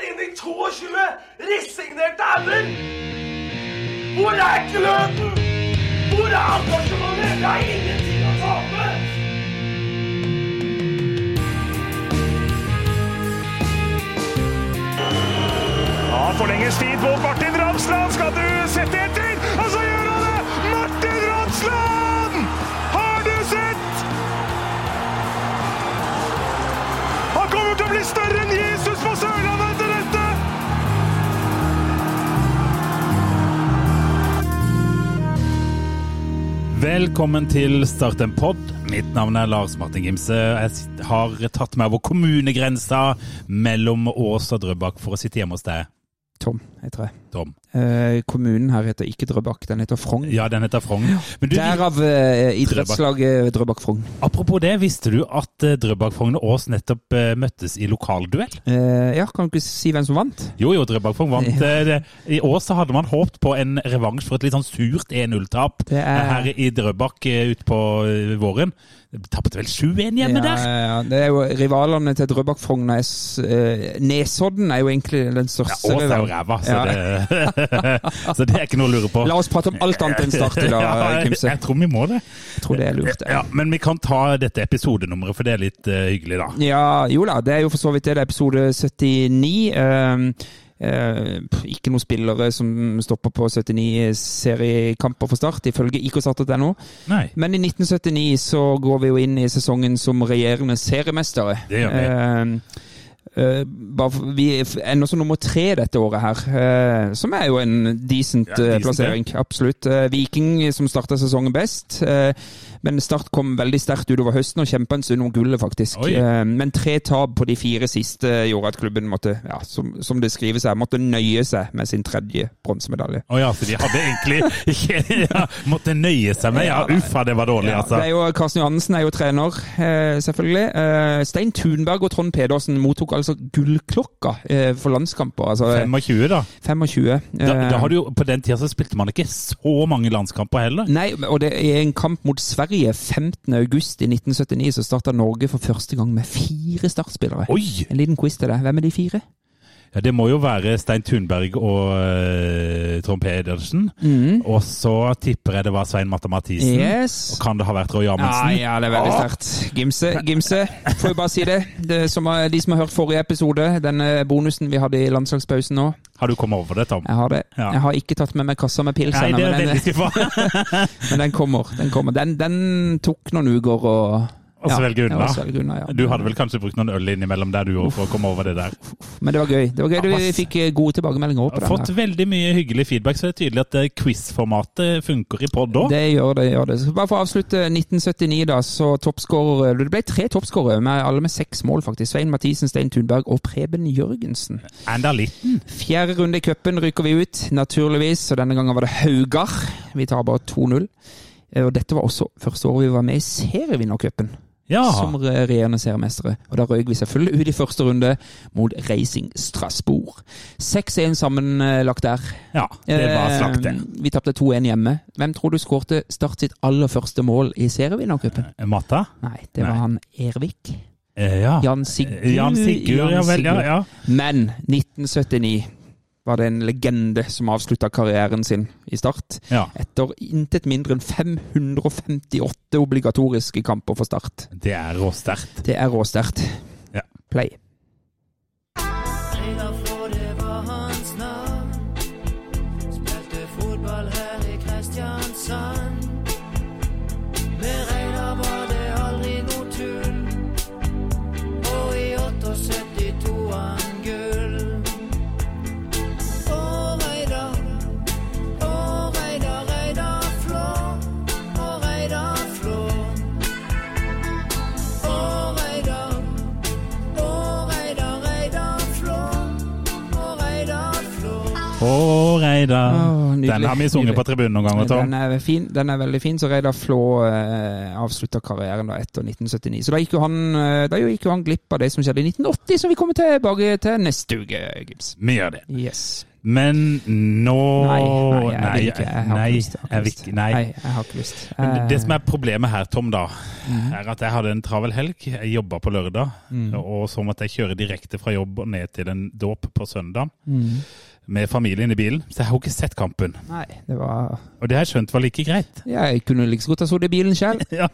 22 resignerte ender! Hvor er gløden? Hvor er engasjementet? Jeg har ingenting å tape! Ja, forlenges tid på Martin Ramsland. Skal du sette etter? Og så gjør han det! Martin Ramsland! Har du sett? Han kommer til å bli større enn Jesus på Sørlandet etter dette! Velkommen til Start en pod. Mitt navn er Lars Martin Gimse. Jeg sit- har tatt meg over kommunegrensa mellom Ås og Drøbak for å sitte hjemme hos deg, Tom heter jeg. Tom. Eh, kommunen her heter ikke Drøbak, den heter Frogn. Ja, den heter Frogn. Men du, Derav eh, idrettslaget Drøbak-Frogn. apropos det, visste du at eh, Drøbak, Frogn og Ås nettopp eh, møttes i lokalduell? Eh, ja, kan du ikke si hvem som vant? Jo, jo, Drøbak, Frogn vant. Ja. eh, det. I Ås så hadde man håpet på en revansj for et litt sånn surt 1-0-tap Det er- her i Drøbak eh, ut på eh, våren. Tapte vel 7-1 hjemme ja, der? ja, ja. Det er jo rivalene til Drøbak-Frogn er s- eh, Nesodden er jo egentlig den største. Ås er jo rivalen. ræva, så, Ja. det, så det er ikke noe å lure på. La oss prate om alt annet enn Start i dag, Ja, jeg, Kimse. jeg tror vi må det. Jeg tror det er lurt. Ja, men vi kan ta dette episodenummeret, for det er litt eh, hyggelig, da. Ja, jo da, det er jo for så vidt det. Det er episode 79. ehm, eh, pff, ikke noen spillere som stopper på 79 seriekamper for Start, ifølge ikstart.no. Nei. Men i 1979 så går vi jo inn i sesongen som regjerende seriemestere. Det gjør vi. Ehm, eh, bare for- vi f- ender som nummer tre dette året her, eh, som er jo en decent, Ja, decent, eh, plassering. Absolutt. Eh, Viking som starta sesongen best, eh, men Start kom veldig sterkt utover høsten og kjempa en stund om gullet, faktisk. Oi. Eh, Men tre tap på de fire siste gjorde at klubben måtte, ja, som, som det skrives her, måtte nøye seg med sin tredje bronsemedalje. Å ja, så de hadde egentlig ikke ja, Måtte nøye seg med Ja, uffa, det var dårlig, Ja, altså. det er jo, Karsten Johansen er jo trener, eh, selvfølgelig. Eh, Stein Thunberg og Trond Pedersen mottok altså gullklokka eh, for landskamper. Altså eh, 25, da. 25. Eh, da, da har du jo, på den tida så spilte man ikke så mange landskamper heller. Nei, og det er en kamp mot Sverige 15. august i 1979, så starta Norge for første gang med fire startspillere. Oi! En liten quiz til deg. Hvem er de fire? Ja, det må jo være Stein Thunberg og eh, Trond Pedersen. Og så tipper jeg det var Svein Matte Mathisen. Mhm. Yes. Og kan det ha vært Roy Ja, Amundsen? ja, det er veldig sterkt. Gimse, Gimse, får jo bare si det. det er som, eh, de som har hørt forrige episode, den eh, bonusen vi hadde i landslagspausen nå, Har du kommet over det, Tom? Jeg har det. Ja. Jeg har ikke tatt med meg kassa med pils Nei, ennå, det er men, veldig den- skuffa. men den kommer. Den, kommer. Den, den tok noen uker å Og svelge unna. å svelge unna ja. Du hadde vel kanskje brukt noen øl innimellom der du òg, for å komme over det der. Men det var gøy. Det var gøy. Du, Ja, vi masse. fikk eh, gode tilbakemeldinger også Har på den. fått her. veldig mye hyggelig feedback, så det er tydelig at eh, quiz-formatet funker i pod òg. Det gjør det. gjør det. Så bare for å avslutte 1979, da, så toppskårer Det ble tre toppskårere, med- alle med seks mål, faktisk. Svein Mathisen, Stein Thunberg og Preben Jørgensen. Enda litt. Fjerde runde i cupen rykker vi ut, naturligvis, og denne gangen var det Haugar. Vi tar bare 2-0. Eh, Og dette var også første året vi var med i serievinnercupen. Ja. som re- regjerende seriemestere. Og da røyk vi selvfølgelig ut i første runde mot Racing Strasbourg. 6-1 sammenlagt der. ja. Det var slakt, det. Eh, Vi tapte 2-1 hjemme. Hvem tror du skårte Start sitt aller første mål i serievinnercupen? Matta? Nei, det var Nei. han Ervik. Eh, Ja. Jan Sigurd. Eh, Jan Sigurd, ja vel. Ja, ja. Men 1979 var det en legende som avslutta karrieren sin i Start. ja. Etter intet mindre enn 558 obligatoriske kamper for Start. Det er råsterkt. Det er råsterkt. Ja. Play. Reidar Flåde var hans navn. Spilte fotball her i Kristiansand. Med Reidar var det aldri noe tull. Og i 78 tok han gull. Å, Reidar. Å, Reidar, Reidar Flå. Å, Reidar Flå. Å, Reidar. Å, Reidar, Reidar Flå. Å, Reidar Flå. Å, Reidar. Å, nydelig. Den har vi sunget på tribunen noen ganger, Den Tom. er, fin, den er veldig fin. Så Reidar Flå eh, avslutta karrieren da etter 1979. Så da gikk, jo han, eh, da gikk jo han glipp av det som skjedde i 1980, som vi kommer tilbake til neste uke, Gibbs. Vi gjør det. Yes. Men nå Nei, nei, jeg vil ikke. Jeg har nei, ikke lyst. Jeg har jeg ikke vil lyst. ikke- nei. Nei, jeg har ikke lyst. Men det- det som Eh, Mhm. er problemet her, Tom, da, er at jeg hadde en travel helg. Jeg jobba på lørdag, og så måtte jeg kjøre direkte fra jobb og ned til en dåp på søndag mm. med familien i bilen. Så jeg har jo ikke sett kampen. Nei, det var Og det har jeg skjønt var like greit. Jeg kunne like så godt ha sittet i bilen selv. Ja.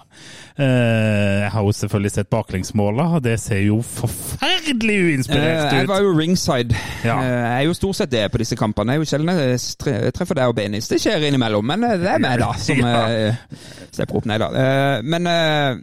Eh, Jeg har jo selvfølgelig sett baklengsmåla, og det ser jo forferdelig Eh, jeg uinspirert var ut. jo ringside. Ja. Eh, jeg er jo stort sett det på disse kampene. Jeg er jo sjelden jeg tre- treffer deg og Benis. Det skjer innimellom, men eh, det er meg, da, som Ja. eh, slipper opp. Nei da. Eh, men eh,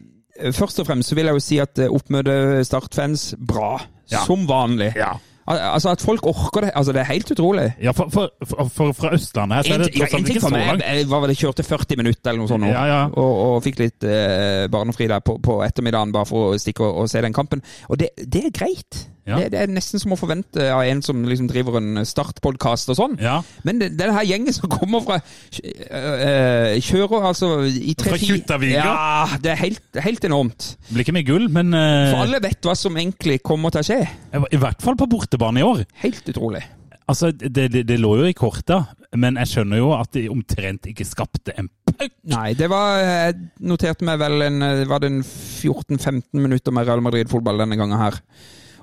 først og fremst så vil jeg jo si at eh, oppmøte Start-fans bra. Ja. Som vanlig. Ja. Al altså At folk orker det, altså det er helt utrolig. Ja, for, for, for, for fra Østlandet her så En, er det ja, tross en alt ting ikke så for meg, langt. jeg var vel jeg kjørte 40 minutter eller noe sånt, nå, Ja, ja. Og, og fikk litt eh, barnefri der på, på ettermiddagen bare for å stikke og, og se den kampen. Og det, det er greit. Ja. Det, det er nesten som å forvente av en som liksom driver en startpodkast og sånn. Ja. Men det- den her gjengen som kommer fra eh, eh, Kjører altså i tre Fra Kjuttaviga? Ja, det er helt, helt enormt. Det blir ikke mye gull, men eh, For alle vet hva som egentlig kommer til å skje. jeg var- i hvert fall på bortebane i år. Helt utrolig. Altså, det, det, det lå jo i korta, men jeg skjønner jo at de omtrent ikke skapte en puck. Nei, det var Jeg noterte meg vel en, eh, var det en 14-15 minutter med Real Madrid-fotball denne gangen her.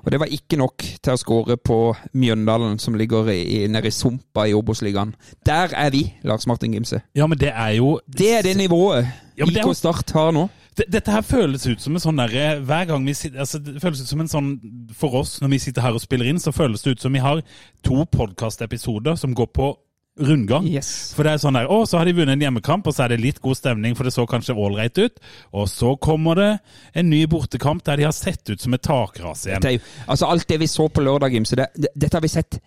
Og det var ikke nok til å skåre på Mjøndalen, som ligger i, i- nede i sumpa i Obos-ligaen. Der er vi, Lars Martin Gimse. Ja, men det er jo Det er det nivået Ja, men det er jo- IK Start har nå. D- Dette her føles ut som en sånn derre Hver gang vi sitter altså, Det føles ut som en sånn For oss, når vi sitter her og spiller inn, så føles det ut som vi har to podkastepisoder som går på rundgang. Yes. For det er sånn der Å, så har de vunnet en hjemmekamp, og så er det litt god stemning, for det så kanskje ålreit ut. Og så kommer det en ny bortekamp der de har sett ut som et takras igjen. Det er jo, altså alt det vi så på lørdag, Gimse, det, det, dette har vi sett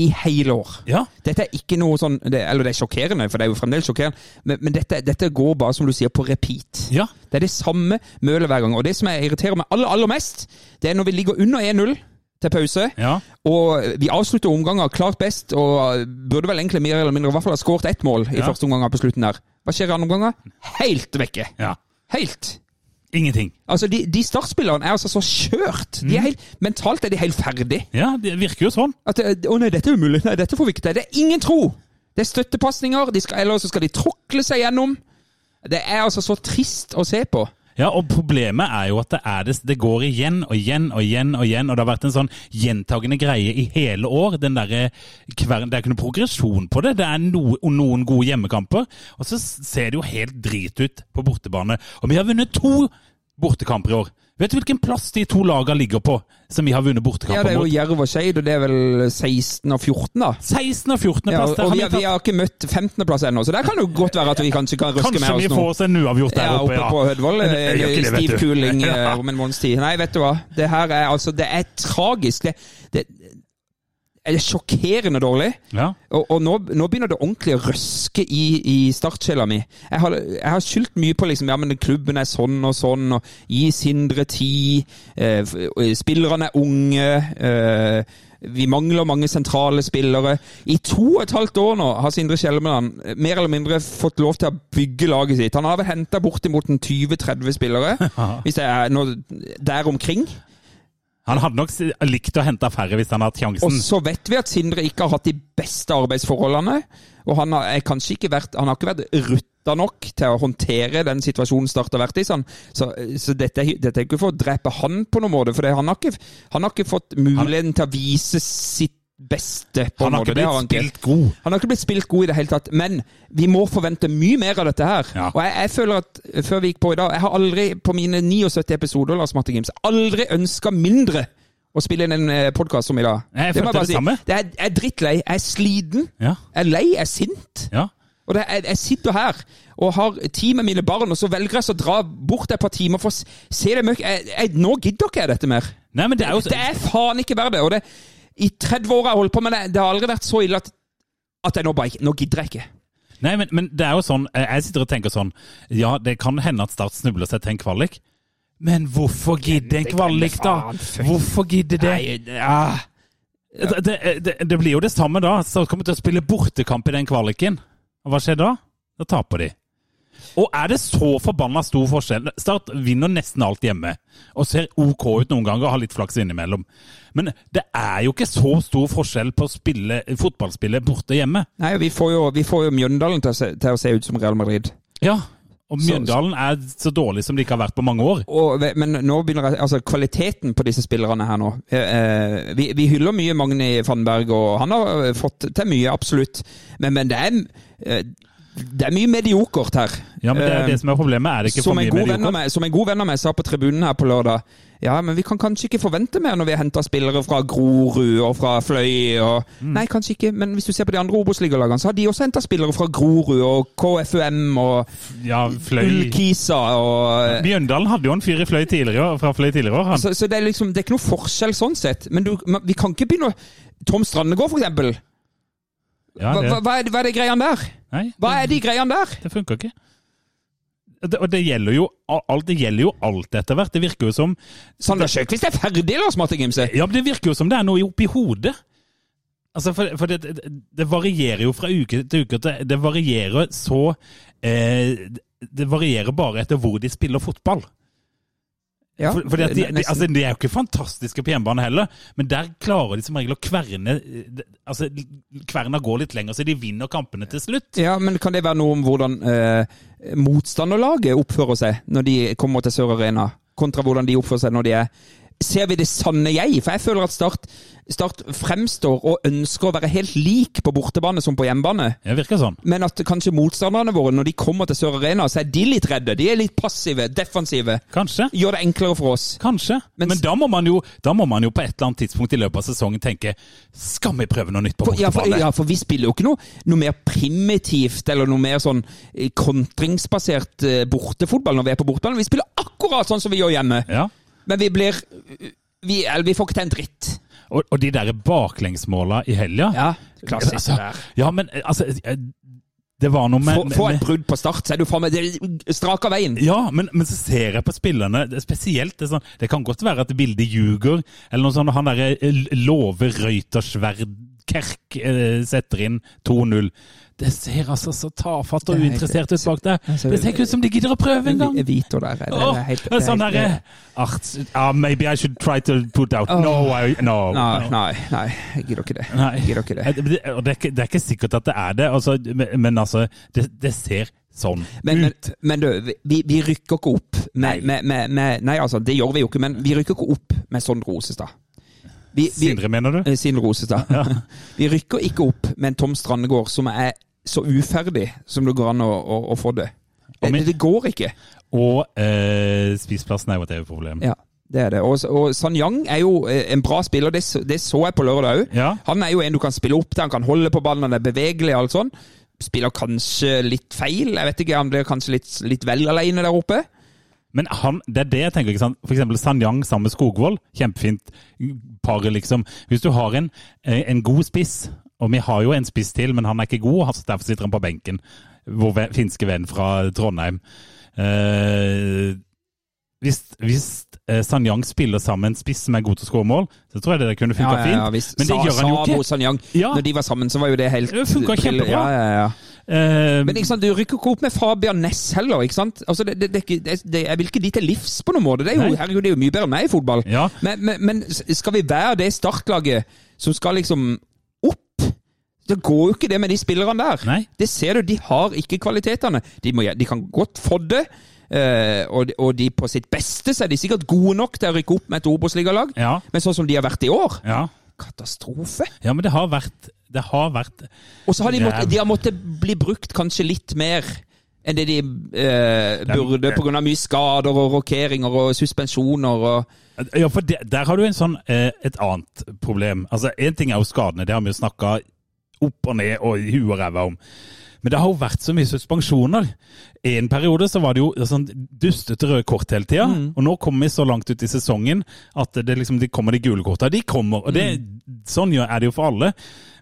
i hele år. Ja. Dette er ikke noe sånn det, Eller det er sjokkerende, for det er jo fremdeles sjokkerende, men, men dette, dette går bare, som du sier, på repeat. Ja. Det er det samme mølet hver gang. Og det som jeg irriterer meg aller, aller mest, det er når vi ligger under 1-0 til pause, Ja. og vi avslutter omganger klart best, og burde vel egentlig mer eller mindre i hvert fall ha skåret ett mål i Ja. første omgang på slutten der. Hva skjer i andre omganger? Helt vekke! ja. Helt! Ingenting. Altså, de, de startspillerne er altså så kjørt. De Mhm. er helt, mentalt er de helt ferdig. Ja, det virker jo sånn. At, eh, å nei, dette er umulig. Nei, dette får vi ikke til. Det er ingen tro! Det er støttepasninger, de skal- eller så skal de tråkle seg gjennom. Det er altså så trist å se på. Ja, og problemet er jo at det, er det, det går igjen og igjen og igjen og igjen, og det har vært en sånn gjentagende greie i hele år. Den derre kvern- Det er ikke noe progresjon på det. Det er no, og noen gode hjemmekamper, og så s- ser det jo helt drit ut på bortebane. Og vi har vunnet to bortekamper i år. Vet du hvilken plass de to lagene ligger på, som vi har vunnet Ja, det bortekamper er jo mot? Jerv og Skeid, og det er vel 16 og 14, da. 16. og 14. Ja, plass. og Der har vi vi har, vi tatt. har ikke møtt 15.-plass ennå, så der kan det jo godt være at vi kanskje kan røske Kanskje med vi oss får nå. oss en uavgjort der Ja, oppe, oppe ja. på Hødvoll. eh, Men jeg gjør ikke det, vet Stiv du. kuling eh, Ja. om en måneds tid. Nei, vet du hva. Det her er altså Det er tragisk. Det, det, det er sjokkerende dårlig. Ja. Og, og nå, nå begynner det ordentlig å røske i, i startsjela mi. Jeg har, jeg har skyldt mye på liksom, ja, men klubben er sånn og sånn, og gis hindre tid, eh, f- eh, spillerne er unge, eh, vi mangler mange sentrale spillere. I to og et halvt år nå har Sindre Skjelmeland eh, mer eller mindre fått lov til å bygge laget sitt. Han har vel henta bortimot en 20-30 spillere, hvis det er noe der omkring. Han hadde nok s- likt å hente færre hvis han hadde hatt Og sjansen. så vet vi at Sindre ikke har hatt de beste arbeidsforholdene. Og han har er kanskje ikke vært, han har ikke vært rutta nok til å håndtere den situasjonen Start har vært i. Så, han- så, så dette, er- dette er ikke for å drepe han på noen måte, for det, han, har ikke, han har ikke fått muligheten til å vise sitt beste. på Han en har måte. ikke Det har han blitt ikke. spilt god. Han har ikke blitt spilt god i det hele tatt, men vi må forvente mye mer av dette her. Ja. Og jeg, jeg føler at før vi gikk på i dag, jeg har aldri på mine 79 episoder Lars Martin Gimse, aldri ønska mindre å spille inn en podkast som i dag. Nei, jeg må følte det samme. Det er, jeg er drittlei. Jeg er sliten. Ja. Jeg er lei. Jeg er sint. Ja. Og det, jeg, jeg sitter her og har tid med mine barn, og så velger jeg så å dra bort et par timer for å s- se det møkk. Jeg, jeg, nå gidder ikke jeg dette mer. Nei, men det er jo Det er faen ikke verdt det. Og det, I 30 år har jeg holdt på med det, det har aldri vært så ille at, at jeg nå bare ikke Nå gidder jeg ikke. Nei, men, men det er jo sånn, eh, jeg sitter og tenker sånn, ja, det kan hende at Start snubler seg til en kvalik, men hvorfor gidder en det kvalik da? faen, fuck. Hvorfor gidder det? ah. Det, det, det, det blir jo det samme da, Start kommer til å spille bortekamp i den kvaliken. Og hva skjer da? Da taper de. Og er det så forbanna stor forskjell? Start vinner nesten alt hjemme, og ser OK ut noen ganger og har litt flaks innimellom. Men det er jo ikke så stor forskjell på å spille, fotballspillet borte hjemme. Nei, og vi får jo, vi får jo Mjøndalen til å, se, til å se ut som Real Madrid. Ja, og Så- Mjøndalen er så dårlig som de ikke har vært på mange år. Og, ve- men nå begynner jeg, altså kvaliteten på disse spillerne her nå eh, eh, vi, vi hyller mye Magni Fannberg, og han har eh, fått til mye, absolutt. Men, men det, er, eh, det er mye mediokert her. Ja, men Det er Eh, jo det som er problemet. Er det ikke som, for en mye god venn av mediokert? meg, som en god venn av meg sa på tribunen her på lørdag Ja, men vi kan kanskje ikke forvente mer når vi har henta spillere fra Grorud og fra Fløy og Mm. Nei, kanskje ikke, men hvis du ser på de andre Obos-ligalagene, så har de også henta spillere fra Grorud og KFUM og Ja, fløy. Ullkisa og Mjøndalen hadde jo en fyr i fløy tidligere år, fra fløy tidligere år. Han. så, så det er liksom Det er ikke noe forskjell sånn sett. Men du, men vi kan ikke begynne å Tom Strandegård, for eksempel. Ja, Hva, hva, det, hva er, hva er det greiene der? nei, Hva er de greiene der? Det funker ikke. Det, og det gjelder, jo, alt, det gjelder jo alt etter hvert. Det virker jo som Sander Sjøkvist er ferdig, Lars Martin Gimse! Ja, men det virker jo som det er noe oppi hodet. Altså, for, for det, det- det varierer jo fra uke til uke. Det, det varierer så eh, Det varierer bare etter hvor de spiller fotball. Ja, for, fordi at de, de, nesten. altså, de er jo ikke fantastiske på hjemmebane heller, men der klarer de som regel å kverne eh, det- Altså, kverna går litt lenger, så de vinner kampene til slutt. Ja, men kan det være noe om hvordan eh, motstanderlaget oppfører seg når de kommer til Sør Arena, kontra hvordan de oppfører seg når de er Ser vi det sanne jeg? For jeg føler at Start, start fremstår og ønsker å være helt lik på bortebane som på hjemmebane. Det virker sånn. Men at kanskje motstanderne våre, når de kommer til Sør Arena, så er de litt redde. De er litt passive, defensive. Kanskje. Gjør det enklere for oss. Kanskje. Men- Men, da, må man jo, da må man jo på et eller annet tidspunkt i løpet av sesongen tenke Skal vi prøve noe nytt på For, ja, for, bortebane? ja, for vi spiller jo ikke noe, noe mer primitivt eller noe mer sånn eh, kontringsbasert eh, bortefotball når vi er på bortebane. Vi spiller akkurat sånn som vi gjør hjemme. Ja. Men vi blir vi, Eller vi får ikke til en dritt. Og, og de der baklengsmåla i helga Ja, klassisk altså, der. Ja, men altså eh, Det var noe med Få, få et med- brudd på start, så er du faen meg det- strak av veien. Ja, men, men så ser jeg på spillerne, det er spesielt det, er sånn, det kan godt være at bildet ljuger, eller noe sånt. og Han derre Love Røytersverd Kerk eh, setter inn 2-0. Det ser altså så tafatt og Det er helt- uinteressert ut bak der. Altså, Det ser ikke ut som de gidder å prøve engang. Vito der er det, Åh, det er helt, det er sånn helt- derre Art ah, Maybe I should try to put out No, I, no. Nei, nei, nei, jeg gidder ikke det. Nei. Eh, Jeg gidder ikke det. Det, og det, er ikke, det er ikke sikkert at det er det, altså, men, men altså det, det ser sånn Men, men, ut. men du, vi, vi rykker ikke opp Nei. med, med, med, med Nei, altså, det gjør vi jo ikke, men vi rykker ikke opp med Sondre Osestad. Vi, vi, Sindre, mener du? eh, Sindre Osestad. vi rykker ikke opp med en Tom Strandegård som er så uferdig som det går an å, å, å få det. Det, min- det går ikke. Og eh, spiseplassen er jo et EU-problem. Ja, det er det. Og, og San Yang er jo eh, en bra spiller, det, så- det så jeg på lørdag òg. Ja. Han er jo en du kan spille opp til, han kan holde på ballen, han er bevegelig og alt sånn. Spiller kanskje litt feil, jeg vet ikke, han blir kanskje litt, litt vel alene der oppe. Men han, det er det jeg tenker, ikke sant? For eksempel Sanyang sammen med Skogvold. Kjempefint par, liksom. Hvis du har en, eh, en god spiss, og vi har jo en spiss til, men han er ikke god, altså derfor sitter han på benken. Vår ve- finske venn fra Trondheim. Eh, hvis hvis eh, Sanyang spiller sammen en spiss som er god til å skåre mål, så tror jeg det der kunne funka visst. fint. Men det Sa- gjør han jo Sabo, ikke. Sanyang. Ja. Når de var sammen, så var jo det helt Det funket kjempebra. Ja, ja, ja. Eh, Men liksom- ikke sant, du rykker ikke opp med Fabian Ness heller, ikke sant? Altså, det, det, det, er ikke- det, det, jeg vil ikke de til livs på noen måte. Det er jo, Nei. herregud, det er jo mye bedre enn meg i fotball. Ja. Men, men, men skal vi være det startlaget som skal liksom opp? Det går jo ikke det med de spillerne der. Nei. Det ser du, de har ikke kvalitetene. De, må, de kan godt få det. eh, og, de, og de på sitt beste så er de sikkert gode nok til å rykke opp med et Obos-ligalag. Ja. Men sånn som de har vært i år ja. Katastrofe. ja, men det har vært Det har vært Og så har de, Ræv. måttet, de har måttet bli brukt kanskje litt mer enn det de eh, burde, pga. mye skader og rokeringer og suspensjoner og Ja, for det, der har du en sånn, eh, et annet problem. Altså, Én ting er jo skadene, det har vi jo snakka opp og ned og i huet og ræva om. Men det har jo vært så mye suspensjoner. I en periode så var det jo sånn dustete røde kort hele tida. Og nå kommer vi så langt ut i sesongen at det liksom, de kommer de gule korta. De kommer. Og det, sånn gjør- er det jo for alle.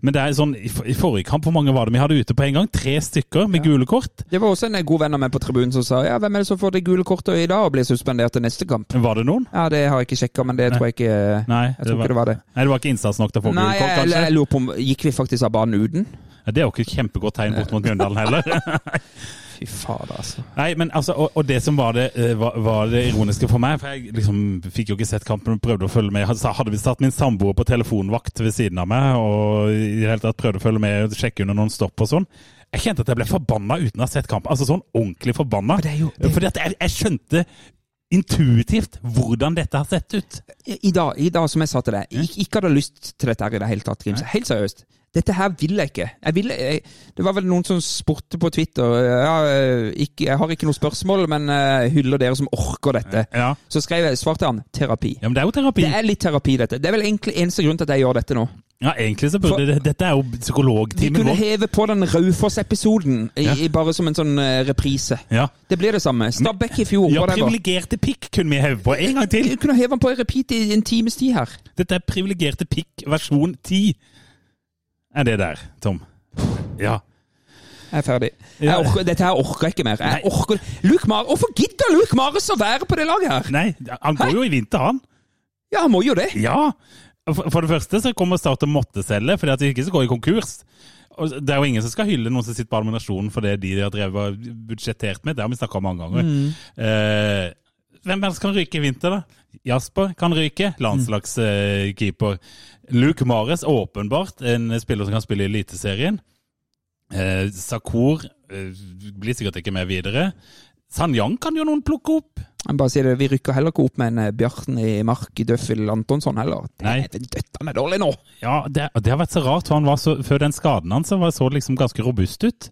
Men det er sånn, i, for- i forrige kamp, hvor mange var det vi hadde ute på en gang? Tre stykker med gule kort. Det var også en eh, god venn av meg på tribunen som sa ja, hvem er det som får det gule kortet i dag og blir suspendert til neste kamp? Var det noen? Ja, det har jeg ikke sjekka, men det tror jeg ikke eh, Nei, Jeg tror ikke det var det. Nei, det var ikke innsats nok til å få Nei, gule kort, jeg, kanskje? jeg lurer på om Gikk vi faktisk av banen uten? Ja, Det er jo ikke et kjempegodt tegn bort mot Mjøndalen heller. Fy fader, altså. Nei, men altså, og, og det som var det, eh, var, var det ironiske for meg, for jeg liksom fikk jo ikke sett kampen, men prøvde å følge med. Hadde hadde visst hatt min samboer på telefonvakt ved siden av meg, og i det hele tatt prøvde å følge med, sjekke under noen stopp og sånn. Jeg kjente at jeg ble forbanna uten å ha sett kampen. Altså sånn ordentlig forbanna. det er jo- det- Fordi at jeg, jeg skjønte intuitivt hvordan dette har sett ut. I dag, i dag som jeg sa til deg, jeg ikke hadde lyst til dette her i det hele tatt, Grimse. Helt seriøst. Dette her vil jeg ikke. Jeg ville- jeg, det var vel noen som spurte på Twitter ja, eh, ikke, Jeg har ikke noe spørsmål, men eh, hyller dere som orker dette. Ja. Så skrev jeg, svarte han terapi. Ja, men det er jo terapi. Det er litt terapi, dette. Det er vel egentlig eneste grunn til at jeg gjør dette nå. Ja, egentlig så burde det Dette er jo Vi psykologtimen kunne vår. heve på den Raufoss-episoden i- Ja. i bare som en sånn eh, reprise. Ja. Det blir det samme. Stabæk i fjor. Ja, whatever. privilegerte pikk kunne vi heve på en gang til. Vi kunne heve den på i repeat i en times tid her. Dette er privilegerte pikk versjon 10. Er det der, Tom? Ja. Jeg er ferdig. Ja. Jeg orker, dette her orker jeg ikke mer. Jeg Nei. orker, Luke Mar Hvorfor gidder Luke Mares å være på det laget her? Nei, han går jo i vinter, han. Ja, han må jo det. Ja. For for det første så kommer Start til å måtte selge, fordi at de ikke så går i konkurs. Og det er jo ingen som skal hylle noen som sitter på administrasjonen for det de har drevet og budsjettert med. Det har vi snakka om mange ganger. Eh, hvem ellers kan ryke i vinter, da? Jasper kan ryke. Landslagskeeper. Luke Mares, åpenbart en spiller som kan spille i Eliteserien. Eh, Sakur eh, blir sikkert ikke med videre. Sanyang kan jo noen plukke opp. Jeg bare sier det, Vi rykker heller ikke opp med en eh, Bjarten i Mark i Døffel Antonsson heller. Det Nei. er døttende dårlig nå. Ja, det, og det har vært så rart. for han var så, Før den skaden hans så var- så liksom ganske robust ut.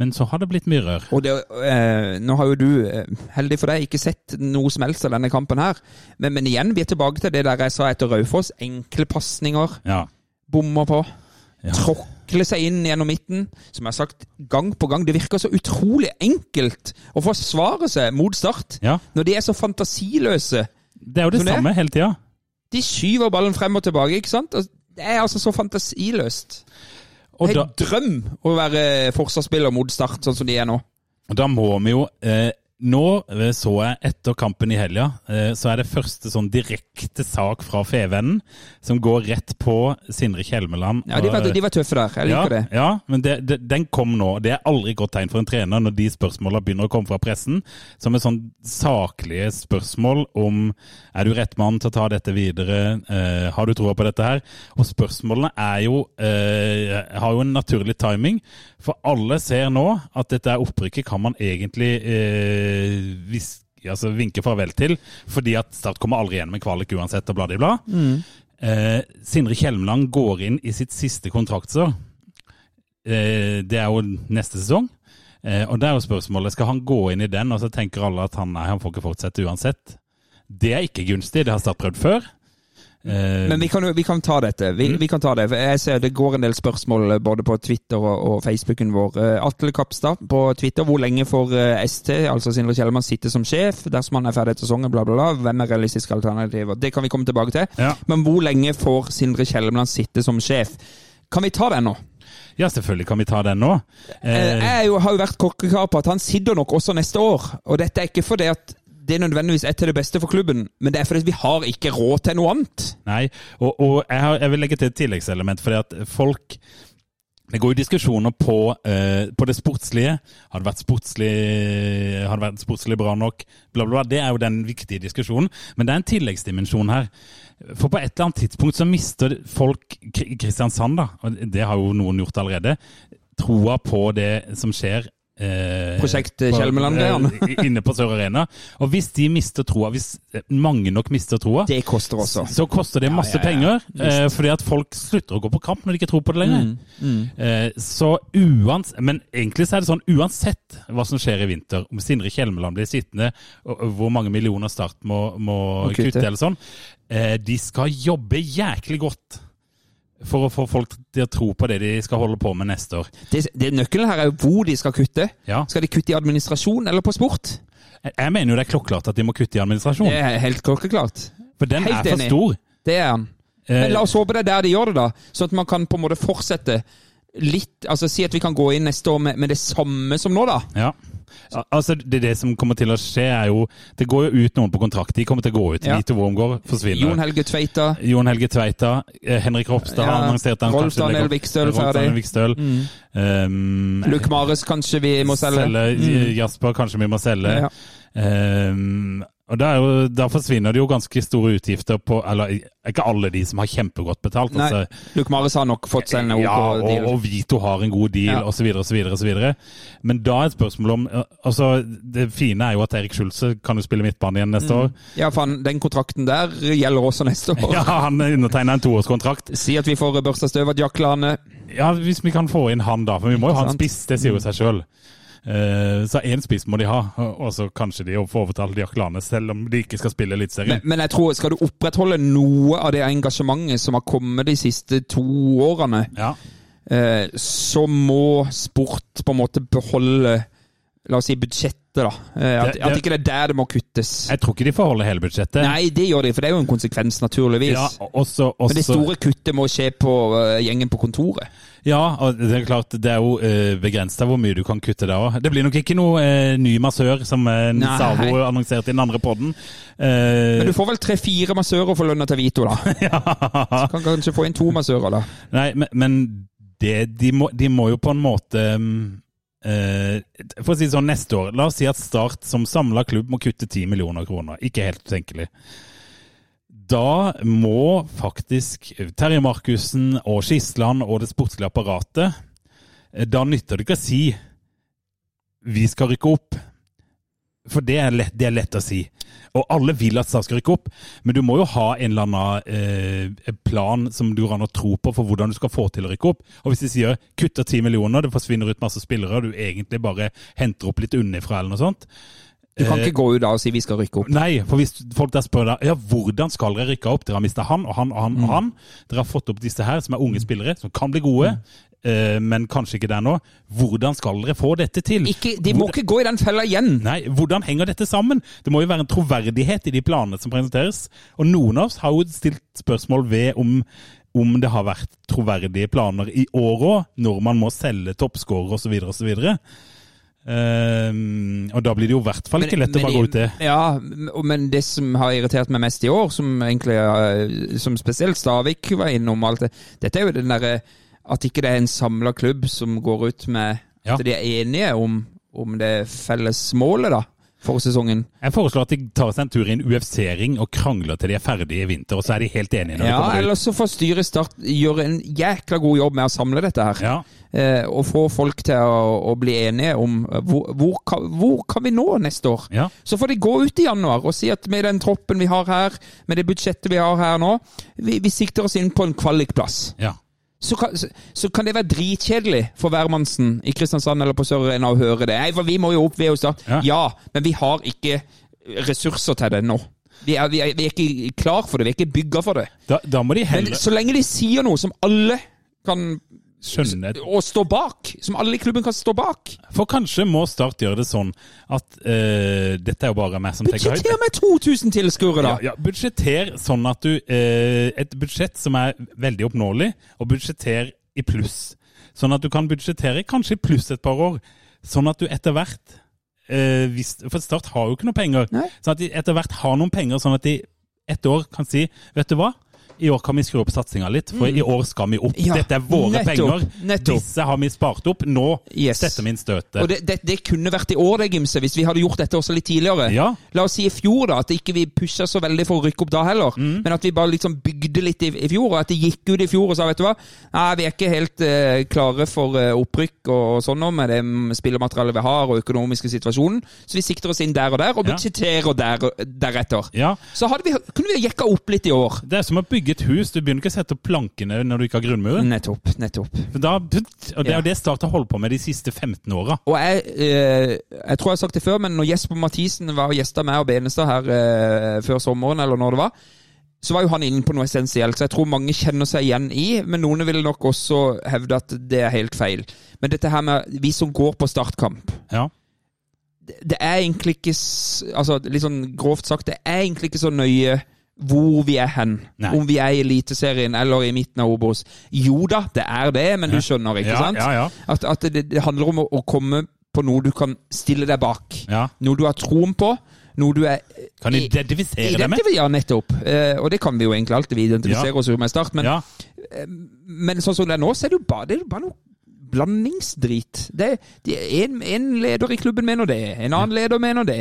Men så har det blitt mye rør. Og det, eh, nå har jo du, eh, heldig for deg, ikke sett noe som helst av denne kampen her. Men, men igjen, vi er tilbake til det der jeg sa etter Raufoss. Enkle pasninger. Ja. Bommer på. Ja. Tråkle seg inn gjennom midten. Som jeg har sagt gang på gang, det virker så utrolig enkelt å forsvare seg mot Start. ja. Når de er så fantasiløse. Det er jo det Tror du det? samme hele tida. De skyver ballen frem og tilbake, ikke sant? Og det er altså så fantasiløst. Og Det er da, en drøm å være forsvarsspiller mot Start, sånn som de er nå. og da må vi jo eh, Nå eh, så jeg etter kampen i helga, eh, så er det første sånn direkte sak fra Fevennen som går rett på Sindre Kjelmeland. Ja, De var, og- de var tøffe der. Jeg liker ja, det. Ja, men det, det, den kom nå. Det er aldri et godt tegn for en trener når de spørsmåla begynner å komme fra pressen, som er sånn saklige spørsmål om er du rett mann til å ta dette videre, eh, har du troa på dette her? Og spørsmålene er jo eh, har jo en naturlig timing, for alle ser nå at dette er opprykket kan man egentlig eh, hviske Altså vinke farvel til, fordi at Start kommer aldri igjen med kvalik uansett, og bla, bla, bla. Mm. Eh, Sindre Kjelmeland går inn i sitt siste kontraktsår. Eh, det er jo neste sesong. Eh, og det er jo spørsmålet, skal han gå inn i den, og så tenker alle at han, nei, han får ikke fortsette uansett. Det er ikke gunstig, det har Start prøvd før. Eh, Men vi kan, jo- vi kan ta dette. Vi, vi kan ta det. for Jeg ser det går en del spørsmål eh, både på Twitter og, og Facebooken vår. Eh, Atle Kapstad på Twitter. Hvor lenge får eh, ST, altså Sindre Kjellemann, sitte som sjef dersom han er ferdig etter sesongen? Bla, bla, bla. Hvem er realistiske alternativer? Det kan vi komme tilbake til. Ja. Men hvor lenge får Sindre Kjellemann sitte som sjef? Kan vi ta den nå? ja, selvfølgelig kan vi ta den nå. Eh, Eh, Jeg er jo, har jo vært kokkekar på at han sitter nok også neste år. Og dette er ikke fordi at det nødvendigvis er til det beste for klubben, men det er fordi vi har ikke råd til noe annet. Nei, og, og jeg, har, jeg vil legge til et tilleggselement, fordi at folk det går jo diskusjoner på, eh, på det sportslige. Har det vært sportslig, har det vært sportslig bra nok? Bla, bla, bla. Det er jo den viktige diskusjonen. Men det er en tilleggsdimensjon her. For på et eller annet tidspunkt så mister folk Kri- Kristiansand, da, og det har jo noen gjort allerede, troa på det som skjer. eh, Prosjekt på- Kjelmeland-greiene. eh, Inne på Sør Arena. Og hvis de mister troa, hvis eh, mange nok mister troa Det koster også. så koster det masse ja, ja. penger, eh, fordi at folk slutter å gå på kamp når de ikke tror på det lenger. Mm, Eh, så uans Men egentlig så er det sånn uansett hva som skjer i vinter, om Sindre Kjelmeland blir sittende, og, og hvor mange millioner Start må, må Må kutte. kutte, eller sånn, eh, de skal jobbe jæklig godt. For å få folk til å tro på det de skal holde på med neste år. det, det Nøkkelen her er jo hvor de skal kutte. Ja. Skal de kutte i administrasjon eller på sport? Jeg- Jeg mener jo det er klokkeklart at de må kutte i Det administrasjon, er helt klokkeklart. for den helt er for enig. stor. Det er han. Eh, Men la oss håpe det er der de gjør det, da. Sånn at man kan på en måte fortsette litt Altså si at vi kan gå inn neste år med, med det samme som nå, da. ja. Al- Altså, det, det som kommer til å skje, er jo Det går jo ut noen på kontrakt. De kommer til å gå ut. Ja. Vito Wormgård forsvinner. Jon Helge Tveita. Jon Helge Tveita, eh, Henrik Ropstad har Ja, annonsert han Rolf kanskje legger Daniel opp- Vikstøl Rolf ferdig. Daniel Vikstøl. Um, Mm. Luke Mares kanskje vi må selge. Mm. J- Jasper, kanskje vi må selge. Ja. Um, og da, er jo, da forsvinner det jo ganske store utgifter på Eller ikke alle de som har kjempegodt betalt. Nei, altså. Luke Mares har nok fått seg en OK Ja, og, deal. og Vito har en god deal, Ja. og så videre, og så videre, og så videre. Men da er et spørsmål om altså, Det fine er jo at Erik Schulze kan jo spille midtbane igjen Mm. neste år. Ja, faen, den kontrakten der gjelder også neste år. Ja, Han undertegna en toårskontrakt. Si at vi får børsta støv av Jaklane. Ja, Hvis vi kan få inn han, da. For vi må jo ha en Sant. Mm. spiss, det sier jo seg sjøl. Så én spiss må de ha, og- og så kanskje de får overtalt Jack Lane, selv om de ikke skal spille Eliteserien. Men, men jeg tror, skal du opprettholde noe av det engasjementet som har kommet de siste to årene, Ja. eh, så må sport på en måte beholde La oss si budsjettet, da. Eh, At, Det- at det- ikke det er der det må kuttes. Jeg tror ikke de får holde hele budsjettet. Nei, det gjør de, for det er jo en konsekvens, naturligvis. Ja, også, også, Men det store kuttet må skje på eh, gjengen på kontoret. Ja, og det er klart det er jo eh, begrensa hvor mye du kan kutte der òg. Det blir nok ikke noe eh, ny massør, som eh, Nei. Savo annonserte i den andre podden. Eh, Men du får vel tre-fire massører for lønna til Vito, da. Så kan kanskje få inn to massører, da. Nei, men, men det, de, må, de må jo på en måte mm, eh, For å si det sånn, neste år La oss si at Start som samla klubb må kutte 10 millioner kroner. Ikke helt utenkelig. Da må faktisk Terje Markussen og Skisland og det sportslige apparatet eh, Da nytter det ikke å si 'vi skal rykke opp'. For det er, lett, det er lett å si. Og alle vil at Start skal rykke opp, men du må jo ha en eller annen eh, plan som du går an å tro på for hvordan du skal få til å rykke opp. Og hvis de sier kutter 10 millioner, det forsvinner ut masse spillere, og du egentlig bare henter opp litt unnifra eller noe sånt. Du kan Eh, ikke gå ut da og si vi skal rykke opp. Nei, for hvis folk der spør deg ja, hvordan skal dere rykke opp, dere har mista han og han og han Mm. og han. Dere har fått opp disse her, som er unge spillere, som kan bli Mm. gode, eh, men kanskje ikke der nå. Hvordan skal dere få dette til? Ikke, de må Hvordan- ikke gå i den fella igjen! Nei, hvordan henger dette sammen? Det må jo være en troverdighet i de planene som presenteres. Og noen av oss har jo stilt spørsmål ved om, om det har vært troverdige planer i år òg, når man må selge toppskårer osv. osv. Um, og da blir det jo i hvert fall ikke lett å bare gå ut det. Ja, m- men det som har irritert meg mest i år, som egentlig eh, Som spesielt Stavik var innom alt det Dette er jo den derre At ikke det er en samla klubb som går ut med Ja. At de er enige om, om det felles målet, da, for sesongen. Jeg foreslår at de tar seg en tur i en UFC-ring og krangler til de er ferdige i vinter, og så er de helt enige når de Ja, kommer ut. eller så får styret Start gjøre en jækla god jobb med å samle dette her. Ja. Eh, og få folk til å, å bli enige om eh, hvor, hvor, kan, hvor kan vi nå neste år. Ja. Så får de gå ut i januar og si at med den troppen vi har her, med det budsjettet vi har her nå, vi, vi sikter oss inn på en kvalikplass. ja. Så kan, så, så kan det være dritkjedelig for hvermannsen i Kristiansand eller på Sør-Arena å høre det. Nei, for vi må jo opp, vi er jo Start. Ja. Ja. men vi har ikke ressurser til det nå. Vi er, vi, er, vi er ikke klar for det, vi er ikke bygga for det. Da, da må de Men heller så lenge de sier noe som alle kan skjønne og stå bak, som alle i klubben kan stå bak. For kanskje må Start gjøre det sånn at eh, Dette er jo bare meg som tenker høyt. Budsjetter med 2000 tilskuere, da! Ja, ja. Budsjetter sånn at du eh, Et budsjett som er veldig oppnåelig, og budsjetter i pluss. Sånn at du kan budsjettere kanskje i pluss et par år. Sånn at du etter hvert eh, hvis, For Start har jo ikke noe penger. Nei. Sånn at de etter hvert har noen penger, sånn at de ett år kan si Vet du hva? I år kan vi skru opp satsinga litt, for i år skal vi opp. Mm. Ja, Dette er våre nettopp, penger. nettopp. Disse har vi spart opp. Nå Yes. setter vi inn støtet. Og det, det, det kunne vært i år, det, Gimse, hvis vi hadde gjort dette også litt tidligere. Ja. La oss si i fjor, da, at ikke vi pusha så veldig for å rykke opp da heller. Mm. Men at vi bare liksom bygde litt i, i fjor, og at det gikk ut i fjor og sa, vet du hva Nei, vi er ikke helt eh, klare for eh, opprykk og, og sånn nå, med det mm, spillematerialet vi har, og økonomiske situasjonen. Så vi sikter oss inn der og der, og Ja. budsjetterer der, deretter. Ja. Så hadde vi, kunne vi ha jekka opp litt i år. Det er som å bygge et hus. Du begynner ikke å sette opp plankene når du ikke har grunnmuren. Nettopp. Nettopp. Men Da, og det er jo det Start har holdt på med de siste 15 åra. Og jeg, eh, jeg tror jeg har sagt det før, men når Jesper Mathisen var og gjesta meg og Benestad her eh, før sommeren, eller når det var, så var jo han inne på noe essensielt, så jeg tror mange kjenner seg igjen i, men noen vil nok også hevde at det er helt feil. Men dette her med vi som går på startkamp, Ja. det, det er egentlig ikke s- altså Litt sånn grovt sagt, det er egentlig ikke så nøye hvor vi er hen. Nei. Om vi er i Eliteserien eller i midten av Obos. Jo da, det er det, men du skjønner, ikke Ja, sant? ja, ja. At, at det, det handler om å, å komme på noe du kan stille deg bak. Ja. Noe du har troen på. Noe du er Kan identifisere deg med. Identif- ja, nettopp. Eh, og det kan vi jo egentlig alltid. Vi identifiserer Ja. oss jo med Start, men, Ja. men sånn som det er nå, så er det jo bare, det er jo bare noe blandingsdrit. Det, det er en, en leder i klubben mener det, en annen leder mener det.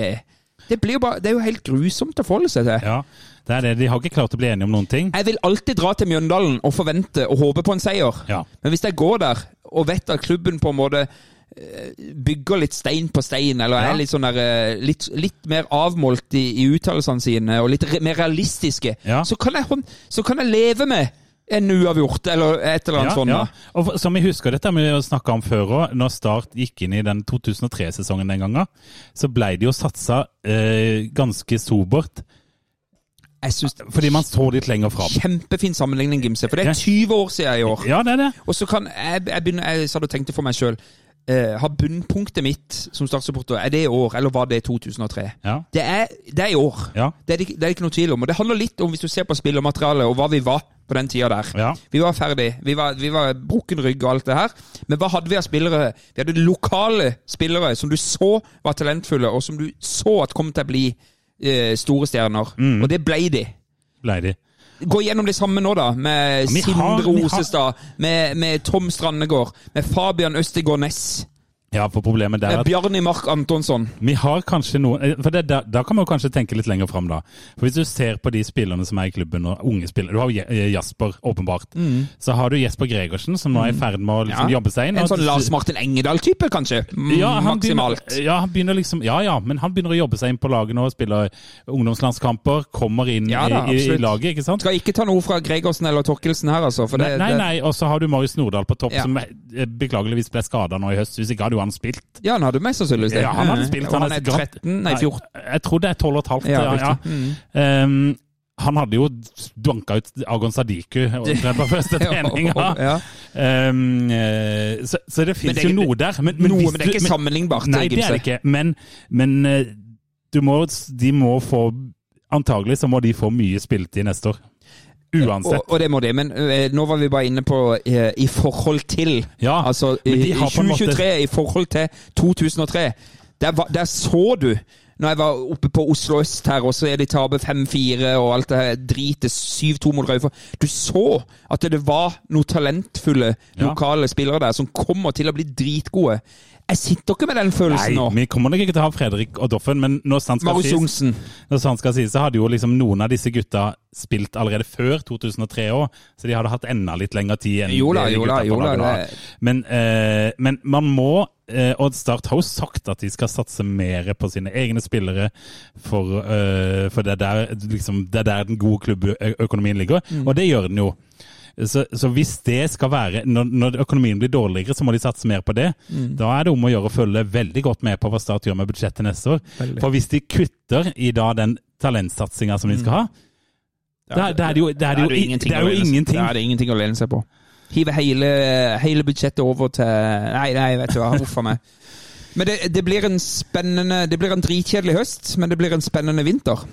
Det, blir jo bare, det er jo helt grusomt å forholde seg til. ja. Det er det. De har ikke klart å bli enige om noen ting. Jeg vil alltid dra til Mjøndalen og forvente og håpe på en seier. Ja. Men hvis jeg går der og vet at klubben på en måte eh, bygger litt stein på stein, eller Ja. er litt, sånn der, eh, litt, litt mer avmålt i, i uttalelsene sine, og litt re mer realistiske, Ja. så, kan jeg, hånd- så kan jeg leve med en uavgjort, eller et eller Ja, annet sånt. ja. sånn, da. Og for- som vi husker dette, har vi jo snakket om før òg, når Start gikk inn i den 2003-sesongen den gangen, så ble det jo satsa eh, ganske sobert, Jeg synes det fordi man så litt lenger fram. Kjempefin sammenligning, Gimse, for det Ja. er 20 år siden i år. Ja, det er det. Og så kan jeg, jeg begynne, jeg satt og tenkte for meg sjøl. har bunnpunktet mitt som startsupporter, er det i år, eller var det i 2003? Ja. Det er, det er i år. Ja. Det, er det, ikke- det er det ikke noe tvil om. Og det handler litt om, hvis du ser på spillermaterialet, og hva vi var på den tida der. Ja. Vi var ferdig. Vi var, vi var brukken rygg og alt det her. Men hva hadde vi av spillere? Vi hadde lokale spillere som du så var talentfulle, og som du så at kom til å bli eh, store stjerner. Mm. Og det ble de. Ble de. Gå gjennom det samme nå, da. Med vi har- Sindre vi har- Osestad, med, med Tom Strandegård, med Fabian Østegård Næss, Ja, for problemet der er med at Bjarni Mark Antonsson. Vi har kanskje noen eh, For det, da, da kan man jo kanskje tenke litt lenger fram, da. For hvis du ser på de spillerne som er i klubben, og unge spillere Du har jo Je- eh, Jasper, åpenbart. Så har du Jesper Gregersen, som nå er i ferd med å liksom, jobbe seg inn. Mm. En og- sånn Lars Martin Engedal-type, kanskje? M- ja, han maksimalt. Begynner, ja, han begynner liksom, ja, ja, men han begynner å jobbe seg inn på laget nå. Spiller ungdomslandskamper, kommer inn Ja da, i, i, i absolutt. laget, ikke sant? Skal ikke ta noe fra Gregersen eller Torkelsen her, altså. For det, Nei, nei, det- nei. og så har du Marius Nordahl på topp, Ja. som eh, beklageligvis ble skada nå i høst. Hvis ikke hadde jo han spilt. Ja, han hadde mest sannsynligvis det. Ja, han hadde spilt. Og han er skatt- 13, nei 14. Jeg tror det er 12 og et halvt. Ja, Mm. Ja, ja. Um, han hadde jo banka ut Agon Sadiku omtrent på første trening. Ja. Ja. Um, eh, så, så det Men fins det- jo noe der. Men, Noe, hvis men det er du- ikke sammenlignbart. Nei, det er det ikke. Men, men eh, du må, de må få Antagelig så må de få mye spilletid neste år. Og, Uansett. og det må de. Men eh, nå var vi bare inne på eh, i forhold til. Ja, altså i, men de har på en måte- 2023 i forhold til 2003. Der, var, der så du når jeg var oppe på Oslo øst her, og så er de taper 5-4 og alt det her dritet 7-2 mot Raufoss. Du så at det var noen talentfulle Ja. lokale spillere der som kommer til å bli dritgode. Jeg sitter ikke med den følelsen Nei, nå. vi kommer nok ikke til å ha Fredrik og Doffen, men når sant skal Marius sies Johnsen. Når sant skal sies, så hadde jo liksom noen av disse gutta spilt allerede før 2003 òg, så de hadde hatt enda litt lengre tid enn Jo da, de jo gutta da, på jo da, laget har. det- Men, eh, men man må eh, Odd Start har jo sagt at de skal satse mer på sine egne spillere, for, eh, for det, er der, liksom, det er der den gode klubbøkonomien ligger, Mm. og det gjør den jo. Så, så hvis det skal være når, når økonomien blir dårligere, så må de satse mer på det. Mm. Da er det om å gjøre å følge veldig godt med på hva Start gjør med budsjettet neste år. For hvis de kutter i da den talentsatsinga som de skal ha, Mm. da, da er det jo, da er det jo, i- det er jo ingenting. altså. Da er det ingenting å lene seg på. Hive hele, hele budsjettet over til Nei, nei, vet du hva. Huff a meg. Men det, det blir en spennende Det blir en dritkjedelig høst, men det blir en spennende vinter.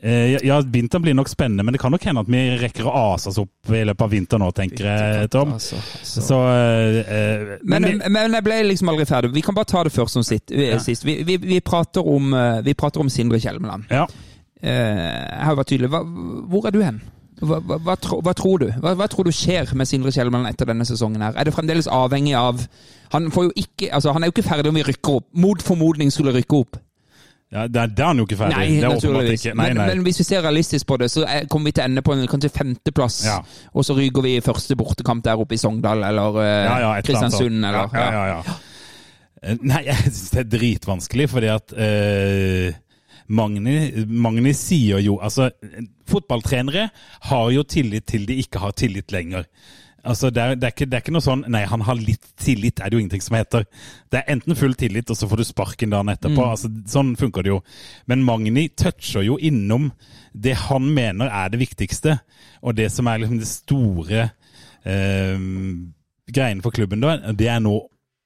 Eh, ja, ja, vinteren blir nok spennende, men det kan nok hende at vi rekker å ase oss opp i løpet av vinteren nå, tenker jeg, Tom. Altså, altså. Så eh, eh, Men, vi- men jeg ble liksom aldri ferdig. Vi kan bare ta det først som sitt, sist. Vi, vi, vi, prater om, eh, vi prater om Sindre Kjelmeland. ja. Eh, Jeg har vært tydelig. Hva, hvor er du hen? Hva, hva, hva, tro, hva tror du hva, hva tror du skjer med Sindre Kjelmeland etter denne sesongen? her? Er det fremdeles avhengig av Han, får jo ikke, altså, han er jo ikke ferdig om vi rykker opp. Mot formodning skulle rykke opp. ja det, er- det er han jo ikke ferdig. Nei, det er åpenbart naturligvis. ikke. Nei, men, nei. men hvis vi ser realistisk på det, så er- kommer vi til å ende på en kanskje femteplass. Ja. Og så ryker vi i første bortekamp der oppe i Sogndal eller eh, ja, ja, et eller annet sånt. Kristiansund. Eller, ja, ja, ja, ja. Eh, Nei, jeg syns det er dritvanskelig, fordi at eh, Magni, Magni sier jo Altså, fotballtrenere har jo tillit til de ikke har tillit lenger. Altså, det er, det, er ikke, det er ikke noe sånn Nei, han har litt tillit, er det jo ingenting som heter. Det er enten full tillit, og så får du sparken dagen etterpå. Mm. Altså, sånn funker det jo. Men Magni toucher jo innom det han mener er det viktigste, og det som er liksom det store eh, greiene for klubben da, det er nå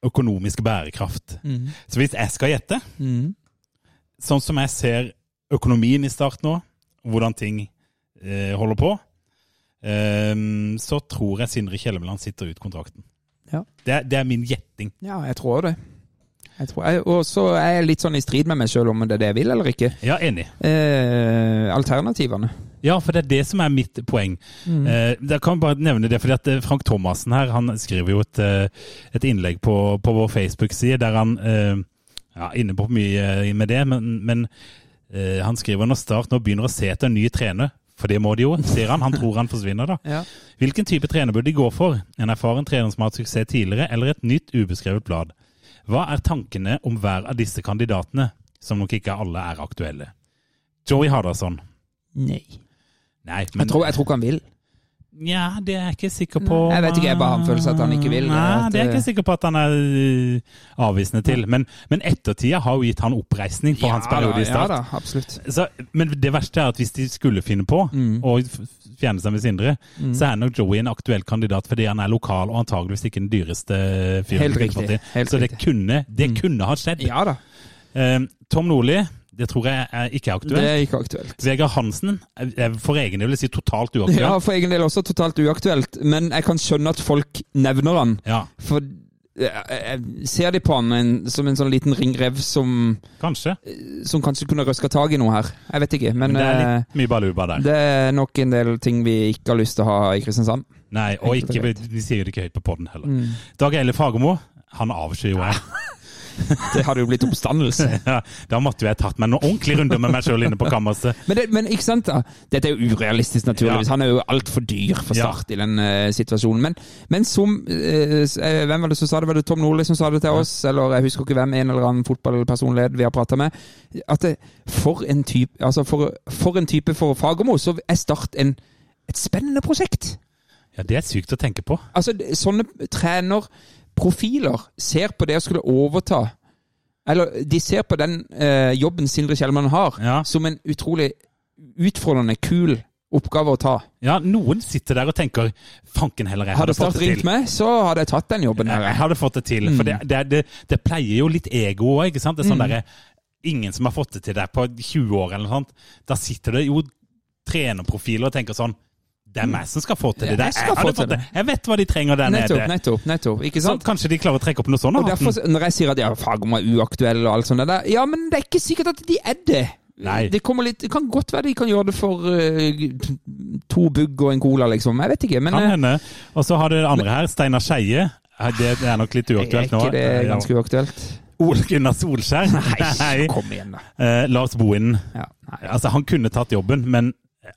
økonomisk bærekraft. Mm. Så hvis jeg skal gjette, sånn som jeg ser økonomien i start nå, hvordan ting eh, holder på, eh, så tror jeg Sindre Kjellemland sitter ut kontrakten. Ja. Det, er- det er min gjetting. Ja, jeg tror det. Jeg Jeg tror jeg, og så er jeg litt sånn i strid med meg sjøl om det er det jeg vil eller ikke. Ja, enig. Eh, alternativene. Ja, for det er det som er mitt poeng. Mm. Eh, jeg kan bare nevne det, fordi at eh, Frank Thomassen her, han skriver jo et, eh, et innlegg på, på vår Facebook-side, der han eh, ja, er inne på mye eh, med det, men, men eh, han skriver når Start nå begynner å se etter en ny trener. For det må de jo, sier han. Han tror han forsvinner, da. Ja. Hvilken type trener burde de gå for? En erfaren trener som har hatt suksess tidligere, eller et nytt ubeskrevet blad? Hva er tankene om hver av disse kandidatene, som nok ikke alle er aktuelle? Joey Hardasson. Nei. Nei, men Jeg tror, jeg tror ikke han vil. Nja, det er jeg ikke sikker på. Nei, jeg vet ikke, jeg bare har en følelse at han ikke vil, Nei, at, det er jeg eh, ikke sikker på at han er øh, avvisende til. Men, men ettertida har jo gitt han oppreisning for hans periode i ja start. da, absolutt. så, men det verste er at hvis de skulle finne på Mm. å f- fjerne seg med Sindre, så er nok Joey en aktuell kandidat fordi han er lokal og antageligvis ikke den dyreste fyren. vi Helt kunne riktig, fått inn. helt så det riktig. Mm. kunne, det kunne ha skjedd. Ja da. Eh, Tom Nordli, det tror jeg er ikke er Det aktuelt. er ikke aktuelt. Vegard Hansen, jeg- jeg- for egen del vil jeg si totalt uaktuelt. Ja, for egen del også totalt uaktuelt, men jeg kan skjønne at folk nevner han. Ja, For jeg- jeg ser de på han en, som en sånn liten ringrev som, kanskje. som kanskje kunne røska tak i noe her. Jeg vet ikke, men, Men det er eh, litt mye baluba der. det er nok en del ting vi ikke har lyst til å ha i Kristiansand. Nei, og Enkelt og ikke, vi sier det ikke høyt på podden heller. Mm. Dag Eile Fagermo, han avskyr jo jeg. Det hadde jo blitt oppstandelse. Ja, da måtte jo jeg tatt meg noen ordentlige runder med meg sjøl inne på kammerset. Men, det, men ikke sant da? Dette er jo urealistisk naturligvis. Ja. Han er jo altfor dyr for Ja. start i den eh, situasjonen. Men, men som eh, s- eh, Hvem var det som sa det? Var det Tom Nordli som sa det til oss? Eller jeg husker ikke hvem, en eller annen fotballpersonlighet vi har prata med. At det, for en type altså for, for en type for Fagermo, så er Start en, et spennende prosjekt. Ja, det er sykt å tenke på. Altså, det- sånne trenerprofiler ser på det å skulle overta Eller de ser på den eh, jobben Sindre Kjellmann har, Ja. som en utrolig utfordrende, kul oppgave å ta. Ja, noen sitter der og tenker Fanken heller, jeg Hadde hadde Start fått det ringt til. meg, så hadde jeg tatt den jobben. Jeg, jeg her. hadde fått det til. For Mm. det, det, er- det, det pleier jo litt ego òg, ikke sant. Det er sånn derre Ingen som har fått det til der på 20 år eller noe sånt. Da sitter det jo trenerprofiler og tenker sånn Det er meg som skal få til det. Ja, der. jeg skal hadde få til fått det. Jeg vet hva de trenger der Nettopp, nede. Sånn nettopp, nettopp. Ikke Så sant? kanskje de klarer å trekke opp noe sånt? Og av hatten. derfor, Når jeg sier at ja, Fagermo er uaktuell og alt sånt det der, ja, men det er ikke sikkert at de er det. Nei. Det, kommer litt, det kan godt være de kan gjøre det for eh, to bugg og en cola, liksom. Jeg vet ikke. Men Mm. Kan eh, hende. Og så har du det andre her, Steinar Skeie. Eh, Det det er nok litt er uaktuelt nå. ikke det Eh, ja. ganske uaktuelt? Ole Gunnar Solskjær? Nei. kom igjen, da. Eh, Lars Bohinen. Ja, nei. Altså, han kunne tatt jobben, men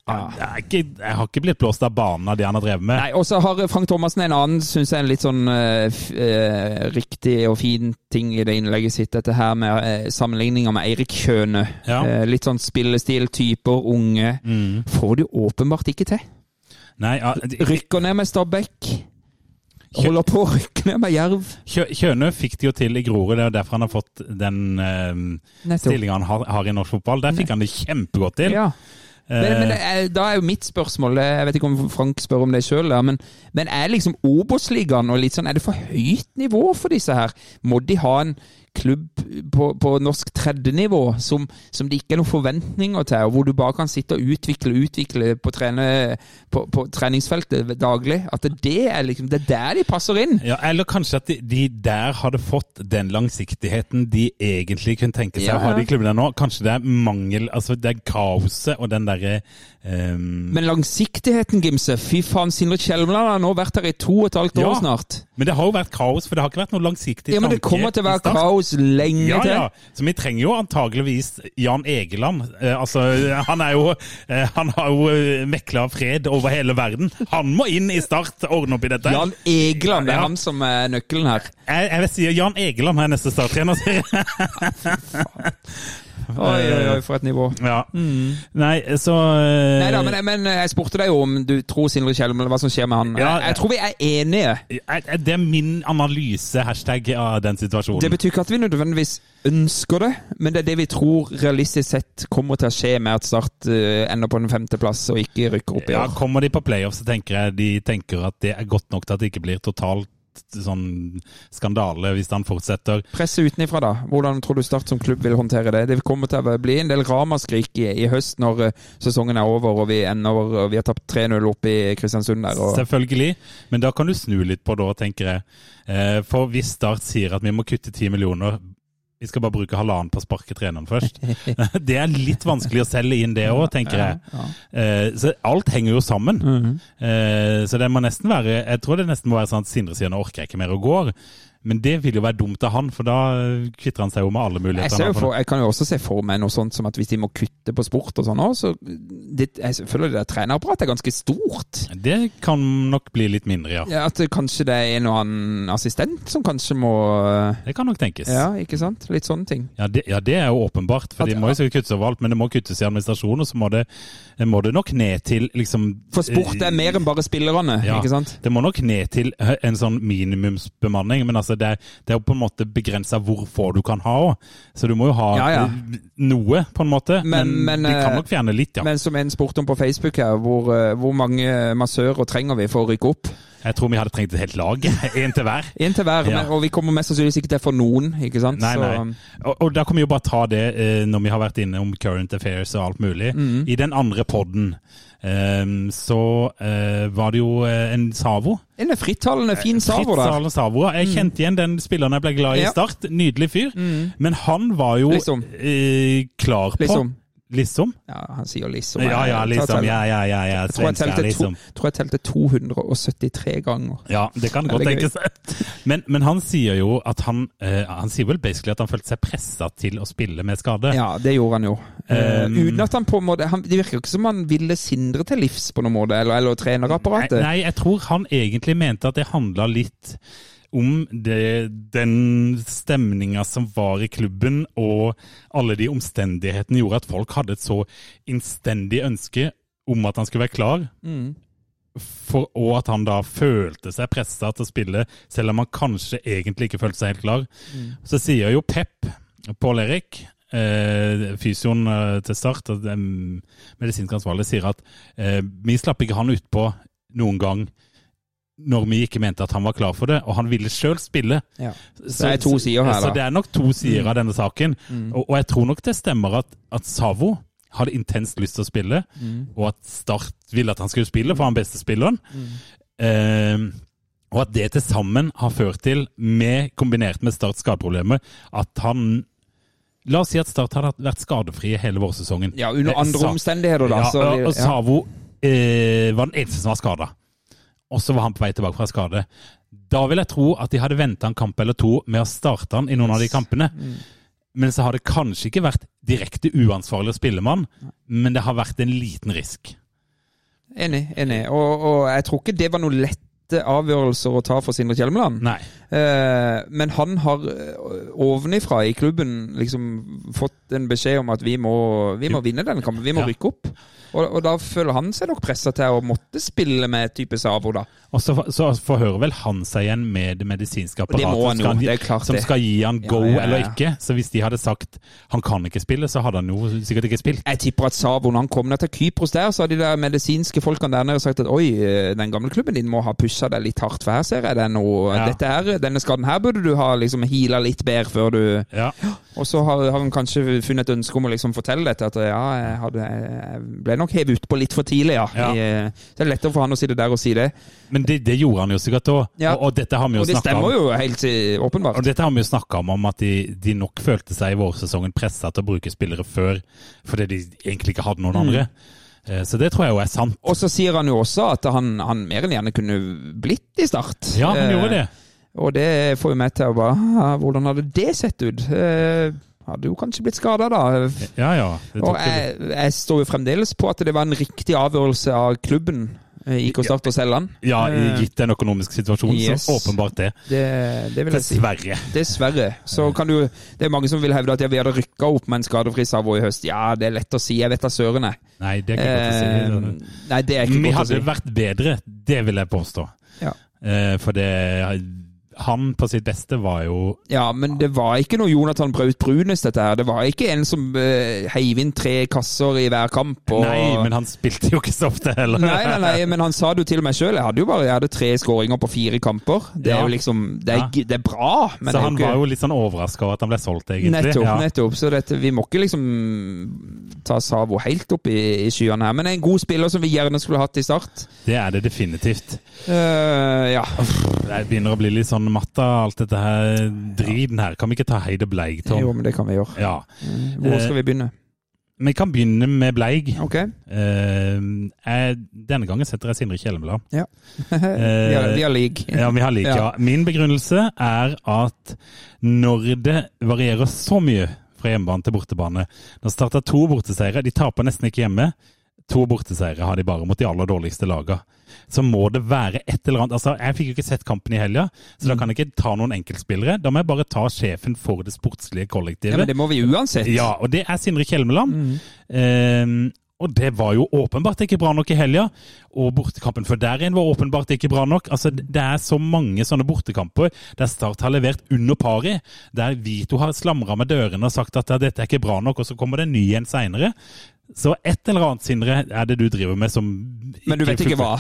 Ja. jeg, er ikke, jeg har ikke blitt blåst av banen av det han har drevet med. Nei, Og så har Frank Thomassen en annen, syns jeg, en litt sånn eh, f- eh, riktig og fin ting i det innlegget sitt. Dette her med eh, sammenligninger med Eirik Kjøne. Ja. Mm. Eh, litt sånn spillestil, typer, unge. Får du åpenbart ikke til. Nei, ah, ja, Rykker ned med Stabæk. Holder på å rykke ned med Jerv. Kjø- Kjønø fikk det jo til i Grorud, det er derfor han har fått den uh, Nettopp. stillinga han har, har i norsk fotball. Der fikk han det kjempegodt til. Ja. Men, men det Eh, er, da er jo mitt spørsmål det- Jeg vet ikke om Frank spør om det sjøl, men, men er liksom Obos-ligaen og litt sånn Er det for høyt nivå for disse her? Må de ha en klubb på, på norsk tredjenivå som, som det ikke er noen forventninger til, og hvor du bare kan sitte og utvikle og utvikle på, trene, på, på treningsfeltet daglig? At det er liksom Det er der de passer inn! ja, eller kanskje at de, de der hadde fått den langsiktigheten de egentlig kunne tenke seg Ja, å ha ja. de klubbene nå. Kanskje det er mangel Altså, det er kaoset og den derre ehm, Men langsiktigheten, Gimse Fy faen, Sindre Kjelmeland har nå vært her i to og et halvt år Ja. snart. Men det har jo vært kaos, for det har ikke vært noe langsiktig Ja, men det tanke kommer til å i være start. kaos lenge Ja, til. ja. Så vi trenger jo antageligvis Jan Egeland. Eh, altså, han er jo eh, Han har jo eh, mekla fred over hele verden. Han må inn i Start og ordne opp i dette. Jan Egeland, det er Ja. han som er nøkkelen her. Jeg, jeg vil si Jan Egeland er neste Start-trener. sier jeg. Oi, oi, oi, Eh, for et nivå. Ja. Nei, så eh, Mm. Neida, men, men jeg spurte deg jo om du tror Sindre Kjelm, eller hva som skjer med han. Ja, jeg, jeg tror vi er enige. jeg- jeg- Det er min analyse, hashtag, av den situasjonen. Det betyr ikke at vi nødvendigvis ønsker det, men det er det vi tror realistisk sett kommer til å skje med at Start eh, ender på den femteplass og ikke rykker opp i ja, år. kommer de på playoff, så tenker jeg de tenker at det er godt nok til at det ikke blir totalt sånn skandale hvis han fortsetter. Presset utenifra, da. Hvordan tror du Start som klubb vil håndtere det? Det kommer til å bli en del ramaskrik i, i høst når eh, sesongen er over og vi, ender, og vi har tapt 3-0 opp i Kristiansund der. Og... Selvfølgelig, men da kan du snu litt på det òg, tenker jeg. Eh, For hvis Start sier at vi må kutte 10 millioner Vi skal bare bruke halvannen på å sparke treneren først. Det er litt vanskelig å selge inn det òg, tenker jeg. Eh, Så alt henger jo sammen. Mhm. Eh, Så det må nesten være Jeg tror det nesten må være sånn at Sindre sier nå orker jeg ikke mer og går. Men det vil jo være dumt av han, for da kvitter han seg jo med alle Jeg, muligheter. ser han jo har for, jeg kan jo også se for meg noe sånt som at hvis de må kutte på sport og sånn òg, så det, Jeg føler det der trenerapparatet er ganske stort. nå. Det kan nok bli litt mindre, ja. Ja, At det kanskje det er en og annen assistent som kanskje må eh, Det kan nok tenkes. Ja, ikke sant? Litt sånne ting. Ja, det, ja, det er jo åpenbart, for de At- må jo sikkert kuttes overalt, men det må kuttes i administrasjon, og så må det, må det nok ned til liksom For sport er mer enn bare spillerne, Ja, ikke sant? det må nok ned til en sånn minimumsbemanning, men altså det, er, det er jo på en måte begrensa hvor få du kan ha òg. Så du må jo ha eh, Ja, ja. noe, på en måte. Men, Men- men, de kan eh, nok fjerne litt, ja. Men som en spurte om på Facebook her, hvor, eh, hvor mange massører trenger vi for å rykke opp? Jeg tror vi hadde trengt et helt lag. Én til hver. Én til hver, Ja. men- og vi kommer mest sannsynligvis ikke til for noen, ikke sant? Nei, Så, um, nei. Og, og da kan vi jo bare ta det eh, når vi har vært inne om current affairs og alt mulig. Mhm. I den andre podden ehm, så eh, var det jo eh, en Savo. En frittalende Eh, fin savo Fritz der. Mhm. Arlen Savo. ja. Jeg kjente igjen den spilleren jeg ble glad i i Ja. Mhm. Start. Nydelig fyr. Men han var jo Liksom. eh, klar på Liksom. Liksom? Ja, han sier liksom. Ja, ja, Jeg tar liksom. tellen. Ja, ja, ja. ja. Tror jeg, Svenska, telte to, liksom. tror jeg telte 273 ganger. Ja, det kan godt Eller gøy. tenkes. Men, men han sier jo at han eh, Han sier vel basically at han følte seg pressa til å spille med skade. Ja, det gjorde han jo. Eh, Um, uten at han på en måte han, Det virker ikke som han ville Sindre til livs på noen måte, eller, eller trenerapparatet. Nei, nei, jeg tror han egentlig mente at det handla litt om det, den stemninga som var i klubben, og alle de omstendighetene gjorde at folk hadde et så innstendig ønske om at han skulle være klar. For, og at han da følte seg pressa til å spille, selv om han kanskje egentlig ikke følte seg helt klar. Så sier jo Pep, Pål Erik, eh, fysioen eh, til start, og den medisinsk ansvarlig, sier at eh, vi slapp ikke han utpå noen gang når vi ikke mente at han var klar for det, og han ville sjøl spille. Ja. Så det er to sider her, Så da. Mm. det er nok to sider av denne saken. Og, og jeg tror nok det stemmer at, at Savo hadde intenst lyst til å spille, Mm. og at Start ville at han skulle spille, for han er beste spilleren. Eh, og at det til sammen har ført til, med, kombinert med Starts skadeproblemer, at han La oss si at Start hadde vært skadefrie hele vårsesongen. Ja, under Eh, andre Sa- omstendigheter, da. ja, så, og- og ja. Savo eh, var den eneste som var skada. Og så var han på vei tilbake fra skade. Da vil jeg tro at de hadde venta en kamp eller to med å starte han i noen av de kampene. Mm. Men så har det kanskje ikke vært direkte uansvarlig å spille med han, men det har vært en liten risk. Enig. enig. Og, og jeg tror ikke det var noen lette avgjørelser å ta for Sindre Kjelmeland. Nei. Eh, men han har eh, ovenifra i klubben liksom fått en beskjed om at vi må, vi må vinne denne kampen. Vi må Ja. rykke opp. Og, og da føler han seg nok pressa til å måtte spille med et type Savo, da. Og så, så forhører vel han seg igjen med det medisinske det apparatet må han jo, som, det er skal, klart som det. skal gi han go Ja, ja, ja. eller ikke. Så hvis de hadde sagt han kan ikke spille, så hadde han jo sikkert ikke spilt. Jeg tipper at Savo, når han kom ned til Kypros der, så har de der medisinske folkene der nede sagt at oi, eh, den gamle klubben din må ha pusha deg litt hardt, for her ser jeg det nå. Ja. Dette her, denne skaden her burde du ha liksom heala litt bedre før du Ja. Og så har, har han kanskje funnet et ønske om å liksom fortelle dette, at ja, jeg, hadde, jeg ble nok hevet utpå litt for tidlig, ja. Ja. I, eh, så det er lettere for han å sitte der og si det. Men det, det gjorde han jo sikkert òg. Ja. Og, og dette har vi jo Og det snakket om. stemmer jo helt eh, Og åpenbart. dette har vi jo snakka om, om at de, de nok følte seg i vårsesongen pressa til å bruke spillere før, fordi de egentlig ikke hadde Mm. noen andre. Eh, Så det tror jeg jo er sant. Og så sier han jo også at han, han mer enn gjerne kunne blitt i Start. Ja, han Eh, gjorde det. Og det får jo meg til å bare «Ah, Hvordan hadde det sett ut? Eh, hadde jo kanskje blitt skada, da. Ja, ja. Det Og tok jeg, jeg står jo fremdeles på at det var en riktig avgjørelse av klubben, eh, IK Start og Selland. ja, eh, gitt den økonomiske situasjonen, yes. så åpenbart det. Det, det vil jeg si. Dessverre. Dessverre. Så kan du Det er mange som vil hevde at ja, vi hadde rykka opp med en skadefri Savo i høst. Ja, det er lett å si. Jeg vet da søren, jeg. Nei, det er ikke Eh, godt å si. nei, det er ikke Vi godt å hadde si. vært bedre, det vil jeg påstå. Ja. Eh, For det Han på sitt beste var jo Ja, men det var ikke noe Jonathan Braut Brunes, dette her. Det var ikke en som eh, heiv inn tre kasser i hver kamp. Og... Nei, men han spilte jo ikke så ofte heller. Nei, nei, nei, men han sa det jo til meg sjøl. Jeg hadde jo bare jeg hadde tre skåringer på fire kamper. Det er Ja. jo liksom Det er, Ja. g- det er bra, men så det er han ikke- var jo litt sånn overraska over at han ble solgt, egentlig. Nettopp. Ja. nettopp. Så dette, vi må ikke liksom ta Savo helt opp i, i skyene her. Men en god spiller som vi gjerne skulle hatt i start. Det er det definitivt. Eh, ja. Jeg begynner å bli litt sånn matt av alt dette her driten her. Kan vi ikke ta Heide Bleig, Jo, Tom? men det kan vi gjøre. Ja. Eh, Hvor skal vi begynne? Vi kan begynne med Bleig. Ok. Eh, jeg, denne gangen setter jeg Sindre Kjellemblad. Ja. Vi har, vi har lik. eh, Ja, vi har like, ja. Ja. Min begrunnelse er at når det varierer så mye fra hjemmebane til bortebane Når starter to borteseiere, de taper nesten ikke hjemme. To borteseiere har de bare mot de aller dårligste lagene. Så må det være et eller annet Altså, Jeg fikk jo ikke sett kampen i helga, så da Mm. kan jeg ikke ta noen enkeltspillere. Da må jeg bare ta sjefen for det sportslige Ja, men kollektivet. det må vi uansett. Ja, og det er Sindre Kjelmeland. Eh, og det var jo åpenbart ikke bra nok i helga. Og bortekampen før der igjen var åpenbart ikke bra nok. Altså, Det er så mange sånne bortekamper der Start har levert under par i. Der Vito har slamra med dørene og sagt at ja, dette er ikke bra nok, og så kommer det en ny en seinere. Så et eller annet, Sindre, er det du driver med som Men du vet ikke hva.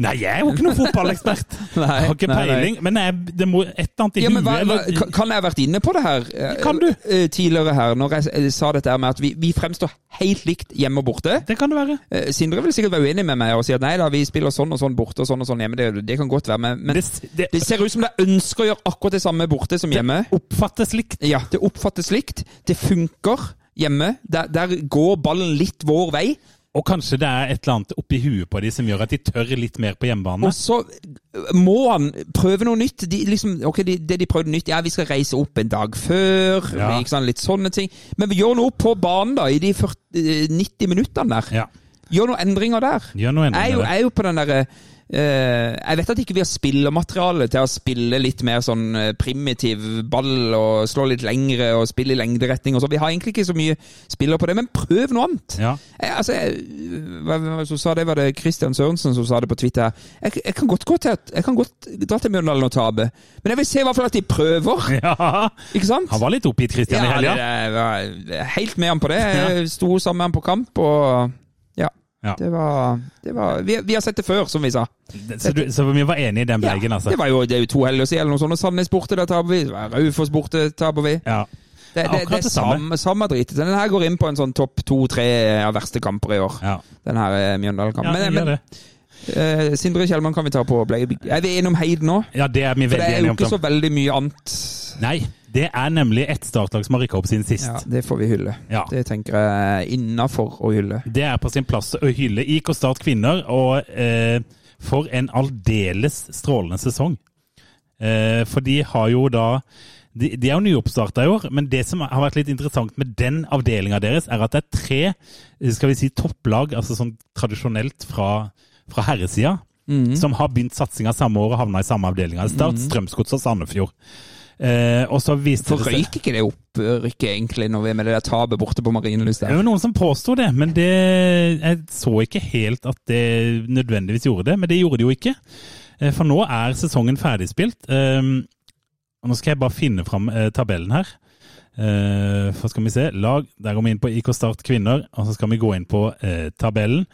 Nei, jeg er jo ikke noen fotballekspert. Nei, jeg har ikke nei, nei. peiling. Men jeg, det må et eller annet i Ja, men hva, huet hva, eller- kan- kan jeg ha vært inne på det her eh, kan du. eh, tidligere her, når jeg eh, sa dette her med at vi, vi fremstår helt likt hjemme og borte? Det kan det være. Eh, Sindre vil sikkert være uenig med meg og si at nei da, vi spiller sånn og sånn borte og sånn og sånn hjemme. Det, det kan godt være, men, men det, Det- det- ser ut som de ønsker å gjøre akkurat det samme borte som hjemme. Oppfattes likt. Ja, Det oppfattes likt. Det funker hjemme. Der, der går ballen litt vår vei. Og kanskje det er et eller annet oppi huet på de som gjør at de tør litt mer på hjemmebane. Og så eh, må han prøve noe nytt. De, liksom, ok, de, det de prøvde nytt, ja, vi skal reise opp en dag før. Ja. Ikke sant? Litt sånne ting. Men vi gjør noe på banen, da, i de 40, eh, 90 minuttene der. Ja. Gjør noen endringer der. Gjør noen endringer jeg, er jo, der. jeg er jo på den derre eh, Jeg vet at ikke vi har spillermateriale til å spille litt mer sånn eh, primitiv ball og slå litt lengre og spille i lengderetning og sånn. Vi har egentlig ikke så mye spillere på det, men prøv noe annet. Ja. Jeg, altså, jeg, hva, hva, som sa det, var det Christian Sørensen som sa det på Twitter. Jeg, jeg kan godt gå til at, jeg kan godt dra til Mjøndalen og tape, men jeg vil se i hvert fall at de prøver. Ja. Ikke sant? Han var litt oppgitt, Christian, i det, helga. jeg var helt med han på det. Jeg sto sammen med han på kamp, og ja. Ja. Det var, det var vi, vi har sett det før, som vi sa. Så, du- så vi var enige i den Ja, bleigen, altså. Det var jo, det er jo to helger siden, eller noe sånt. Og Sandnes borte, der taper vi. Raufoss borte, taper vi. Ja. Det, det, akkurat det er det samme. samme, samme drit. Den her går inn på en sånn topp to-tre av verste kamper i år. Ja. Den her eh, Ja, Mjøndalen-kampen. men, men men eh, Sindre Kjellmann kan vi ta på Bleibig. Er vi enige om Heid nå? ja, det er vi For det veldig er enige jo om. ikke så Tom. veldig mye annet. Nei, det er nemlig ett startlag som har rykka opp siden sist. Ja, det får vi hylle. Ja. Det tenker jeg er innafor å hylle. Det er på sin plass å hylle IK Start kvinner, og eh, for en aldeles strålende sesong. Eh, for de har jo da de, de er jo nyoppstarta i år, men det som har vært litt interessant med den avdelinga deres, er at det er tre eh, skal vi si, topplag, altså sånn tradisjonelt fra, fra herresida, som har begynt satsinga samme år og havna i samme avdelinga. Start, Strømsgods og Sandefjord. Eh, og så viste For røyk ikke det opprykket egentlig når vi er med det der tapet borte på Marienlyst Det der? var noen som påsto det, men det, jeg så ikke helt at det nødvendigvis gjorde det. Men det gjorde det jo ikke. Eh, For nå er sesongen ferdigspilt. Ehm, og Nå skal jeg bare finne fram eh, tabellen her. Eh, For skal vi se Lag. Der går vi inn på IK Start kvinner, og så skal vi gå inn på eh, tabellen.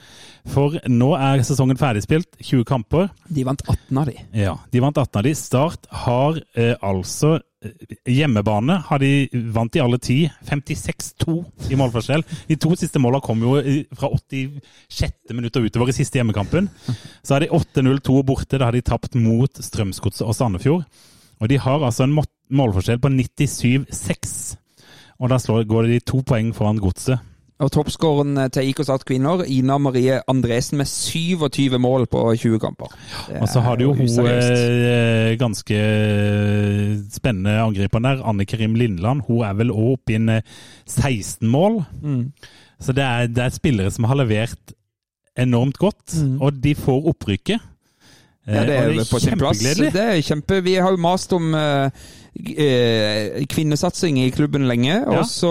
For nå er sesongen ferdigspilt. 20 kamper. De vant 18 av de. Ja, de vant 18 av de. Start har eh, altså eh, Hjemmebane har de vant i alle ti. 56-2 i målforskjell. De to siste måla kom jo i- fra 86. minutt og utover i siste hjemmekampen. Så har de 8-0-2 borte. Da har de tapt mot Strømsgodset og Sandefjord. Og de har altså en må- målforskjell på 97-6. Og da slår, går de to poeng foran Godset. Og toppskåren eh, til IK Start kvinner, Ina Marie Andresen med 27 mål på 20 kamper. Det Og så har er du jo hun useriøst. eh, ganske eh, spennende angriperen der, Anne Karim Lindland. Hun er vel også oppe i en eh, 16 mål. Så det er, det er spillere som har levert enormt godt, og de får opprykket. Eh, Ja, det og er jo på sin plass. kjempegledelig. Det er kjempe, vi har jo mast om eh, g- eh, kvinnesatsing i klubben lenge, Ja. og så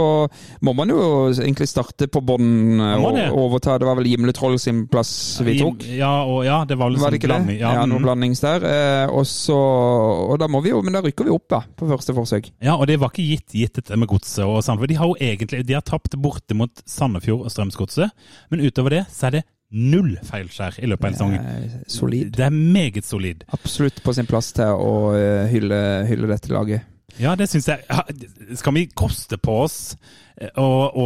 må man jo egentlig starte på bånn eh, Man må og det. overta. Det var vel Gimle Troll sin plass vi tok? Ja, og, ja, det var vel Var sånn det ikke det? blanding. Ja, Ja, noe mm. blandings der. Eh, og så Og da må vi jo Men da rykker vi opp, da. På første forsøk. Ja, og det var ikke gitt, gitt dette med godset og Sandefjord. De har jo egentlig de har tapt borte mot Sandefjord og Strømsgodset, men utover det så er det null feilskjær i løpet av hele sesongen. Eh, solid. Det er meget solid. Absolutt på sin plass til å eh, hylle, hylle dette laget. Ja, det syns jeg. Ha- Skal vi koste på oss eh, å å,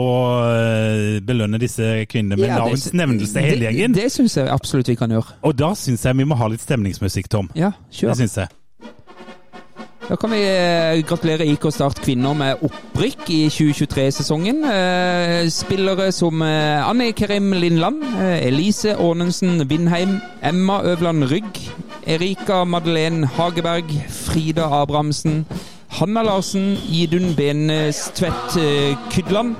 eh, belønne disse kvinnene med Ja, det- navns nevnelse, hele det- gjengen? Det syns jeg absolutt vi kan gjøre. Og da syns jeg vi må ha litt stemningsmusikk, Tom. Ja, Det kjør. syns jeg. Da kan vi eh, gratulere IK Start kvinner med opprykk i 2023-sesongen. Eh, spillere som eh, Anne Kerim Lindland, eh, Elise Aanensen Vindheim, Emma Øvland Rygg, Erika Madeleine Hageberg, Frida Abrahamsen, Hanna Larsen, Idun Benestvedt eh, Kydland,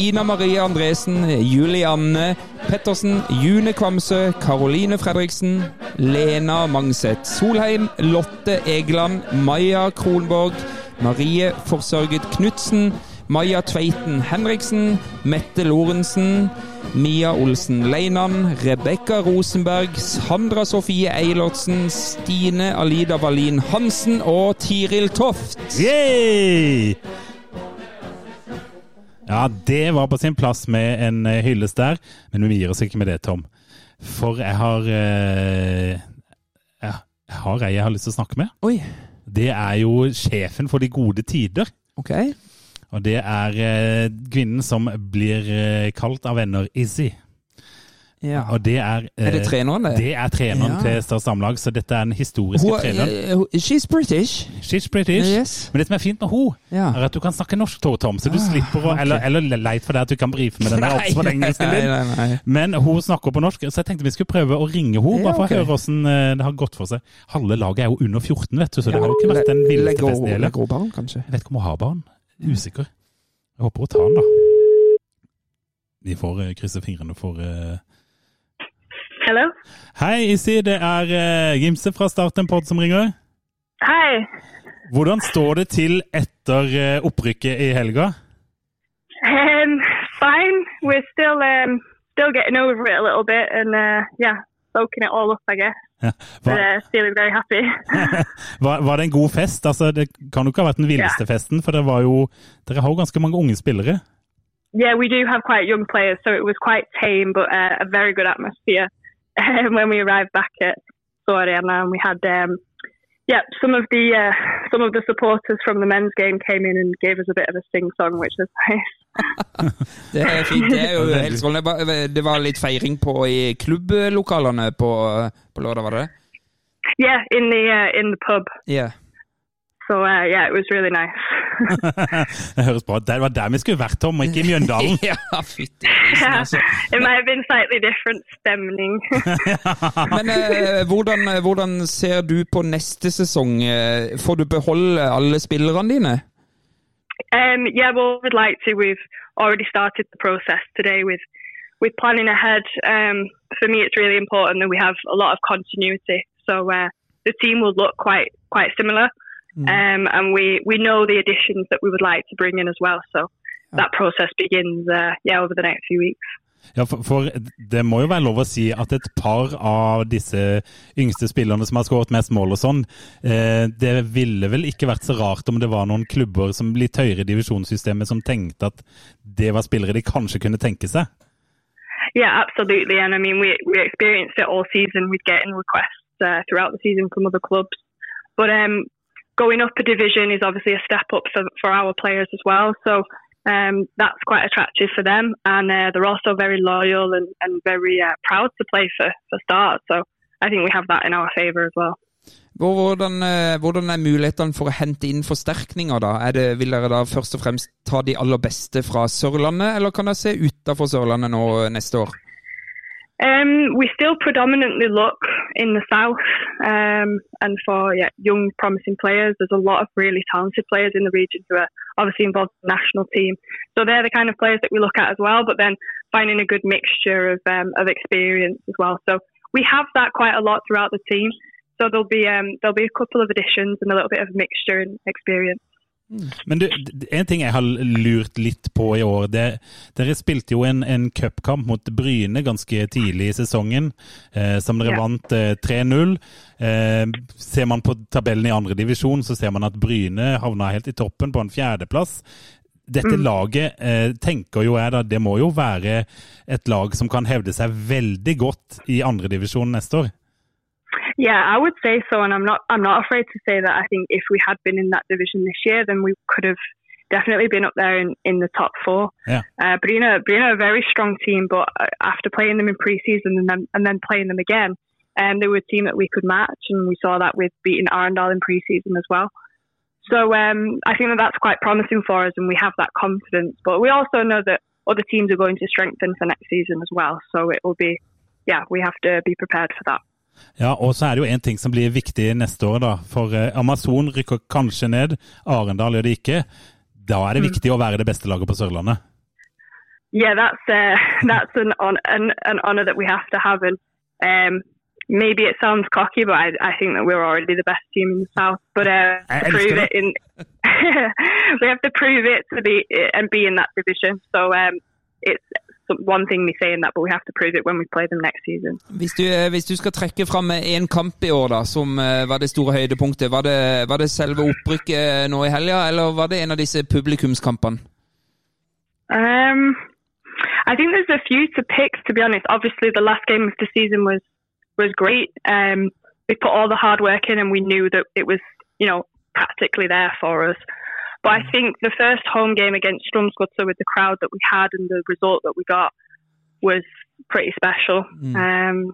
Ina Marie Andresen, Julianne Pettersen, June Kvamsø, Karoline Fredriksen, Lena Mangset Solheim, Lotte Egeland, Maja Kronborg, Marie Forsørget Knutsen, Maja Tveiten Henriksen, Mette Lorentzen, Mia Olsen Leinan, Rebekka Rosenberg, Sandra Sofie Eilertsen, Stine Alida Wallin Hansen og Tiril Toft. Yay! Ja, det var på sin plass med en eh, hyllest der, men vi gir oss ikke med det, Tom. For jeg har eh, ja, Jeg har ei jeg har lyst til å snakke med. Oi, Det er jo sjefen for de gode tider. ok. Og det er eh, kvinnen som blir eh, kalt av venner Izzy. Ja. Og det er eh, Er det treneren, det? Det er treneren Ja. til Start Samlag, så dette er den historiske Hun, treneren. eh, hun- she's British. She's British. Yes. Men det som er fint med henne, Ja. Ah, er at du kan snakke norsk, Tore Tom. Så du slipper å Eller, eller leit for deg at du kan brife med den der opp på den engelsken nei, din. nei, nei. Men hun snakker på norsk, så jeg tenkte vi skulle prøve å ringe henne. Ja, Bare for ok. å høre hvordan eh, det har gått for seg. Halve laget er jo under 14, vet du, så det har jo ikke vært den Legger villeste hun- festen i hele. legger hun barn, kanskje? Jeg vet ikke om hun har barn. Usikker. Jeg håper hun tar den, da. De får eh, krysse fingrene for eh. Hello? Hei, Issy. Det er eh, Gimse fra Start en podd som ringer. Hei. Hvordan står det til etter eh, opprykket i helga? Um, fine. We're still um, still getting over it a little bit, and uh, yeah, soaking it all up, I guess. But Var, uh, feeling very happy. var, var det en god fest? Altså, det kan jo ikke ha vært den villeste festen, for det var jo Dere har jo ganske mange unge spillere. yeah, we do have quite young players, so it was quite tame, but uh, a very good atmosphere um, when we arrived back at Soriana, and we had. Um, yeah, some of the uh, some of the supporters from the men's game came in and gave us a bit of a sing song, which was nice. Det er fint, det er jo helt strålende. Det var- Det var litt feiring på i klubblokalene på, på lørdag, var det det? Yeah, in the uh, in the pub. Ja. So uh, yeah, it was really nice. Det høres bra ut. Det var der vi skulle vært, Tom, og ikke i Mjøndalen. Ja, fytti grisen, altså. it might have been slightly different stemming. Men eh, hvordan, hvordan ser du på neste sesong? Eh, Får du beholde alle spillerne dine? um, yeah, well, we'd like to. We've already started the process today with with planning ahead. Um, for me, it's really important that we have a lot of continuity. So uh, the team will look quite quite similar, um, and we we know the additions that we would like to bring in as well. So that process begins, uh, yeah, over the next few weeks. Ja, for, for det må jo være lov å si at et par av disse yngste spillerne som har skåret mest mål og sånn, eh, det ville vel ikke vært så rart om det var noen klubber som litt høyere i divisjonssystemet som tenkte at det var spillere de kanskje kunne tenke seg. Yeah, absolutely. And I mean, we, we experienced it all season. We'd get in requests uh, throughout the season from other clubs. But um, going up a division is obviously a step up for, for our players as well. So um, that's quite attractive for them. And uh, they're also very loyal and, and very uh, proud to play for, for Start. So I think we have that in our favour as well. Hvor- Hvordan, eh, hvordan er mulighetene for å hente inn forsterkninger, da? Er det, vil dere da først og fremst ta de aller beste fra Sørlandet, eller kan dere se utafor Sørlandet nå eh, neste år? Um, we still predominantly look in the south, um, and for yeah, young, promising players. There's a lot of really talented players in the region who are obviously involved in the national team. So they're the kind of players that we look at as well. But then finding a good mixture of um, of experience as well. So we have that quite a lot throughout the team. So there'll be um, there'll be a couple of additions and a little bit of mixture and experience. Men du, d- en ting jeg har lurt litt på i år. Det, dere spilte jo en, en cupkamp mot Bryne ganske tidlig i sesongen, eh, som dere Ja. vant eh, 3-0. Eh, ser man på tabellen i andre divisjon, så ser man at Bryne havna helt i toppen på en fjerdeplass. Dette laget eh, tenker jo jeg da, det må jo være et lag som kan hevde seg veldig godt i andredivisjon neste år. Yeah, I would say so, and I'm not. I'm not afraid to say that. I think if we had been in that division this year, then we could have definitely been up there in, in the top four. Yeah. Uh, Brina, Brina, are a very strong team, but uh, after playing them in preseason and then and then playing them again, um, they were a team that we could match, and we saw that with beating Arendal in preseason as well. So um, I think that that's quite promising for us, and we have that confidence. But we also know that other teams are going to strengthen for next season as well. So it will be, yeah, we have to be prepared for that. Ja, og så er det jo en ting som blir viktig neste år, da. For eh, Amazon rykker kanskje ned, Arendal gjør det ikke. Da er det viktig å være det beste laget på Sørlandet. Yeah, that's uh, that's an on an, an honor that we have to have, and um, maybe it sounds cocky, but I, I think that we're already the best team in the south. But uh, I to prove understand. it in we have to prove it to be and be in that division. So um, it's one thing me saying that, but we have to prove it when we play them next season. Hvis du, eh, hvis du skal trekke fram én kamp i år da, som eh, var det store høydepunktet, var det, var det selve opprykket eh, nå i helga, eller var det en av disse publikumskampene? Um, I think there's a few to pick. To be honest, obviously the last game of the season was was great. Um, we put all the hard work in, and we knew that it was you know practically there for us. But I think the first home game against Strømsgodset with the crowd that we had and the result that we got was pretty special. Um,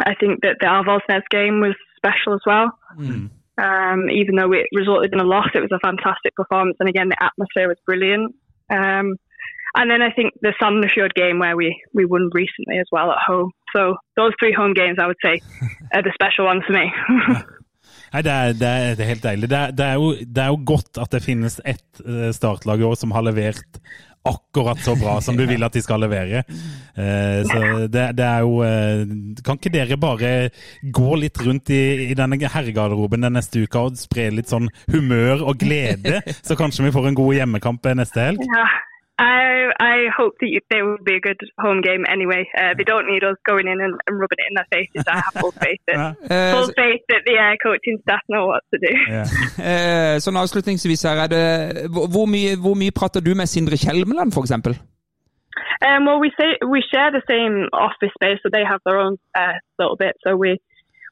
I think that the Arvalsnes game was special as well. Um, even though it resulted in a loss, it was a fantastic performance, and again the atmosphere was brilliant. Um, and then I think the Sandefjord game where we, we won recently as well at home. So those three home games, I would say, are the special ones for me. Nei, det er, det er, det er helt deilig. Det er, det, er jo, det er jo godt at det finnes ett eh, startlag i år som har levert akkurat så bra som du vil at de skal levere. Eh, så det, det er jo eh, Kan ikke dere bare gå litt rundt i, i denne herregarderoben den neste uka og spre litt sånn humør og glede, så kanskje vi får en god hjemmekamp eh, neste helg? yeah. I I hope that you, they will be a good home game anyway. Uh, they don't need us going in and, and rubbing it in their faces. I have full faith that Eh, full faith that the uh, coaching staff know what to do. Ja. Eh, sånn avslutningsvis her, er det hvor- Hvor mye, hvor mye prater du med Sindre Kjelmeland, for eksempel? Um, well, we say we share the same office space, so they have their own uh, little bit. So we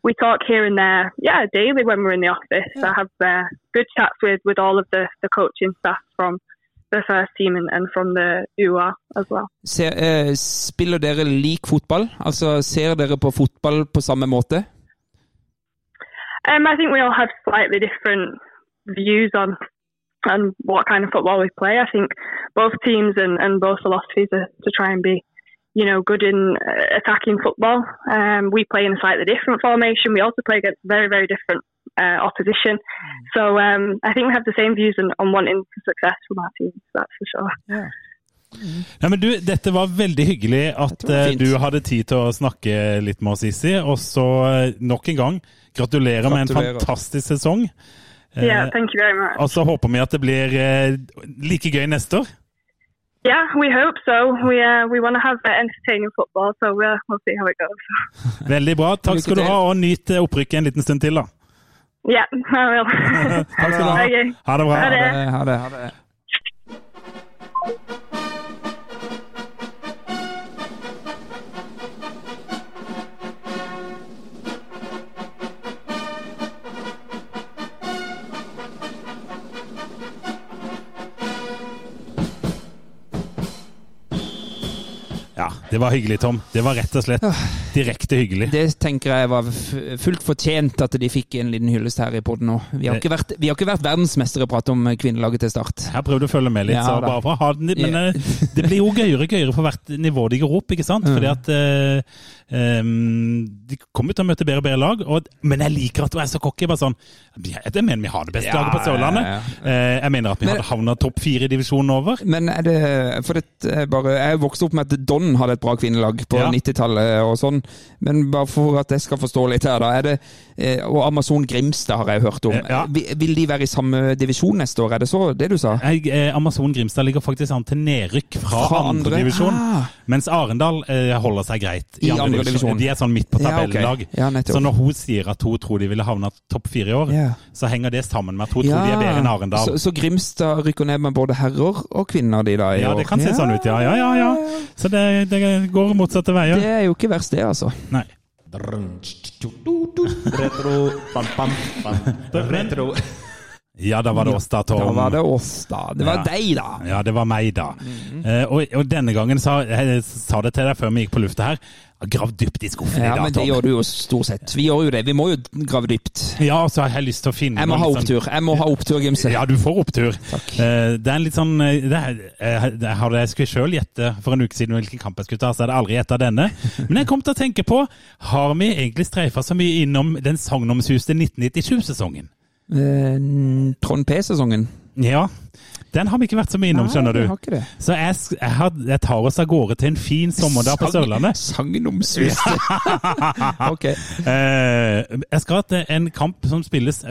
we talk here and there, yeah, daily when we're in the office. I have uh, good chats with, with all of the, the coaching staff from the first team and, and from the UR as well. Ser, eh, spiller dere lik fotball? Altså, ser dere på fotball på samme måte? Um, I think we all have slightly different views on on what kind of football we play. I think both teams and, and both philosophies are to try and be, you know, good in uh, attacking football. Um, we play in a slightly different formation. We also play against very very different uh, opposition. So um, I think we have the same views on, on wanting success from our teams. That's for sure. Nei, men du, dette var veldig hyggelig at var eh, fint. du hadde tid til å snakke litt med oss, Sissi. Og så eh, nok en gang, gratulerer, med en Gratulerer. fantastisk sesong. yeah, thank you very much. Og så håper vi at det blir eh, like gøy neste år. yeah, we hope so. We uh, we want to have uh, entertaining football, so we'll we'll see how it goes. Veldig bra. Takk Lykke skal du til. ha, og nyt eh, opprykket en liten stund til, da. Yeah, I will. Takk skal du ha. Okay. Ha det bra. Ha det. Eh, Ha det. Ha det. Ja, det var hyggelig, Tom. Det var rett og slett direkte hyggelig. Det tenker jeg var f- fullt fortjent at de fikk en liten hyllest her i poden nå. Vi har, ikke vært, vi har ikke vært verdensmestere å prate om kvinnelaget til start. Jeg prøvde å følge med litt, Ja, så da. bare for å ha den litt, men Ja. eh, det blir jo gøyere og gøyere for hvert nivå de går opp, ikke sant? Mm. Fordi at eh, em, de kommer til å møte bedre og bedre lag, og, men jeg liker at du er så cocky. Bare sånn Jeg mener vi har det beste Ja, laget på Sørlandet. ja, Eh, Jeg mener at vi Men- hadde havna topp fire i divisjonen over. Men er det For det er bare Jeg vokste opp med at Don hadde et bra kvinnelag på Ja. 90-tallet og sånn. Men bare for at jeg skal forstå litt her, da. Er det, eh, og Amazon Grimstad har jeg hørt om. Eh, Ja. Vi- Vil de være i samme divisjon neste år? Er det så det du sa? Jeg, eh, Amazon Grimstad ligger faktisk an til nedrykk fra, Fra andre? andre divisjon, Ah. mens Arendal eh, holder seg greit I andre divisjon. De er sånn midt på Ja, ok. tabellag. Ja, nettopp. så når hun sier at hun tror de ville havna topp fire i år, Ja. så henger det sammen med at hun tror de er bedre enn Arendal. Så, så Grimstad rykker ned med både herrer og kvinner, de da? i ja, år. det kan se sånn ut, ja. ja, ja, ja. Så det, det går motsatte veier. Det er jo ikke verst, det, altså. Nei. Retro, bam, bam, bam. Retro. Ja, da var det oss, da, Tom. Da var det oss, da. Det var Ja. deg, da. Ja, det var meg, da. Mhm. Eh, og, og denne gangen sa jeg sa det til deg før vi gikk på lufta her. Grav dypt i skuffen Ja, i dag, men det Tom. gjør du jo stort sett. Vi gjør jo det. Vi må jo grave dypt. Ja, og så har jeg lyst til å finne Jeg må noe ha litt sånn- opptur. Jeg må ha opptur, Gimse. Ja, du får opptur. Takk. Eh, det er en litt sånn eh, det er, eh, det- Hadde jeg skulle sjøl gjette for en uke siden hvilken kamp jeg skulle ta, så hadde jeg aldri gjetta denne. Men jeg kom til å tenke på Har vi egentlig streifa så mye innom den sagnomsuste 1997-sesongen? Eh, Trond P-sesongen. Ja. Den har vi ikke vært så mye innom, skjønner Nei, du. jeg har ikke det. Så jeg, sk- jeg, har, jeg tar oss av gårde til en fin sommerdag på Sang- Sørlandet. Sagnomsuste. ok. Eh, jeg skal til en kamp som spilles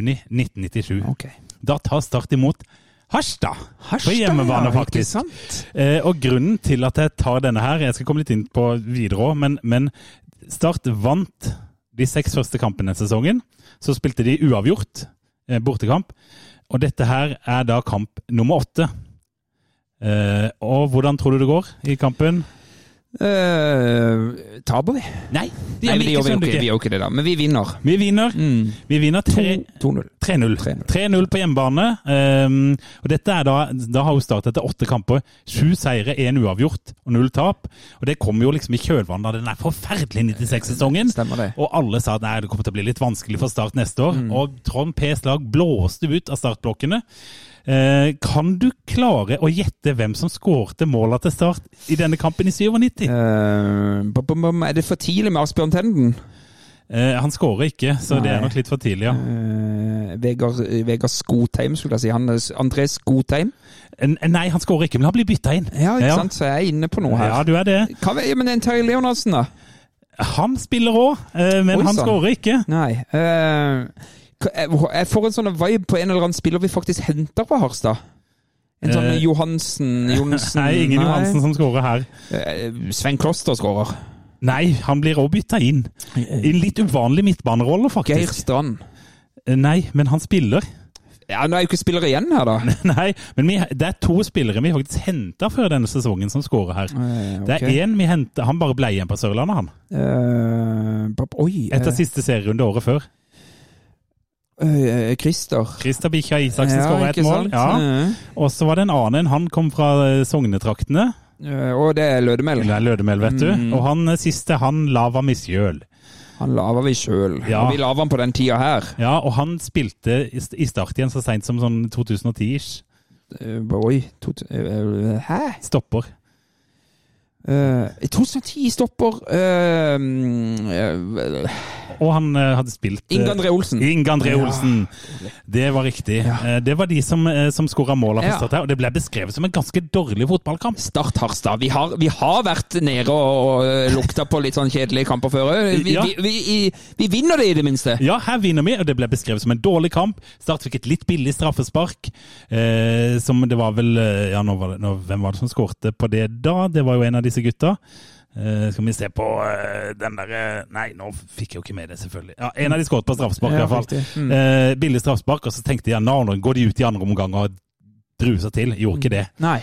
1.6.1997. Ok. Da tar Start imot Harstad. Harstad, på hjemmebane, ja, ikke faktisk. sant? Eh, og grunnen til at jeg tar denne her Jeg skal komme litt inn på videre òg, men, men Start vant de seks første kampene denne sesongen. Så spilte de uavgjort, eh, bortekamp. Og dette her er da kamp nummer åtte. Eh, og hvordan tror du det går i kampen? Eh, taper vi? Nei, de gjør vi Nei, men det ikke, gjør vi jo skjønner du ikke. Vi ikke. gjør Mm. ikke det, da. Men vi vinner. Vi vinner. Vi vinner tre, 2-0. 3-0. 3-0. 3-0 på hjemmebane. Ehm, og dette er da, da har jo Start etter åtte kamper sju seire, én uavgjort og null tap. Og det kom jo liksom i kjølvannet av den der forferdelige 96-sesongen. Stemmer det. Mm. Og alle sa at nei, det kommer til å bli litt vanskelig for Start neste år. Og Trond P's lag blåste ut av startblokkene. Eh, kan du klare å gjette hvem som skårte måla til Start i denne kampen i 97? Eh, bom, bom, bom. er det for tidlig med Asbjørn Tenden? Eh, han skårer ikke, så det er Nei. nok litt for tidlig, ja. Eh, Vegard, Vegard Skotheim, skulle jeg si. Han, er- André Skotheim. En- en- Nei, han skårer ikke, men han blir bytta inn. Ja, ikke sant? Så jeg er inne på noe her. Ja, du er det. Hva, ja, men en Terje Leonardsen, da? Han spiller òg, men Oi, sånn. han sann. skårer ikke. Nei. eh, hva- jeg- jeg får en sånn vibe på en eller annen spiller vi faktisk henter fra Harstad. En sånn Eh, Johansen Johnsen Nei, ingen Johansen som skårer her. Eh, Sven Kloster skårer. Nei, han blir òg bytta inn. I en litt uvanlig midtbanerolle, Geir faktisk. Eh, Strand. Nei, men han spiller. Ja, Nå er jo ikke spillere igjen her, da. Nei, men vi, det er to spillere vi faktisk henta før denne sesongen, som skårer her. Eh, Det ok. er én vi henta Han bare ble igjen på Sørlandet, han. Eh, pap- oi! eh, Etter siste serierunde året før. eh, Christer. Christer Bikkja Isaksen skåra ett ikke mål. sant? Eh. Ja. Og så var det en annen. Han kom fra eh, Sognetraktene. Eh, og det er Lødemel. Det er Lødemel, vet du. Mm. Og han eh, siste, han Lava Misjøl. Han laver vi sjøl. Ja. Og vi laver han på den tida her. Ja, og han spilte i st- i start igjen så seint som sånn 2010-ish. Eh, oi to, eh, Hæ? Stopper. Eh, 2010 stopper eh, eh, Og han eh, hadde spilt eh, Inge André Olsen. Inge André Olsen. Det var riktig. Eh, det var de som, uh, som skåra måla for Ja. Start her, og det ble beskrevet som en ganske dårlig fotballkamp. Start Harstad. Vi har, vi har vært nede og, og eh, lukta på litt sånn kjedelige kamper før. Eh, Vi, Ja. vi, vi, i- vi vinner det, i det minste. Ja, her vinner vi, og det ble beskrevet som en dårlig kamp. Start fikk et litt billig straffespark. Eh, som det var vel eh, Ja, nå var det, nå, hvem var det som skårte på det da? Det var jo en av disse gutta. Eh, skal vi se på eh, den derre Nei, nå fikk jeg jo ikke med det, selvfølgelig. Ja, En av de skåret på straffespark, i Ja, hvert fall. riktig. Mm. Eh, billig straffespark, og så tenkte jeg nå nå går de ut i andre omgang og druer seg til. Gjorde Mm. ikke det. Nei.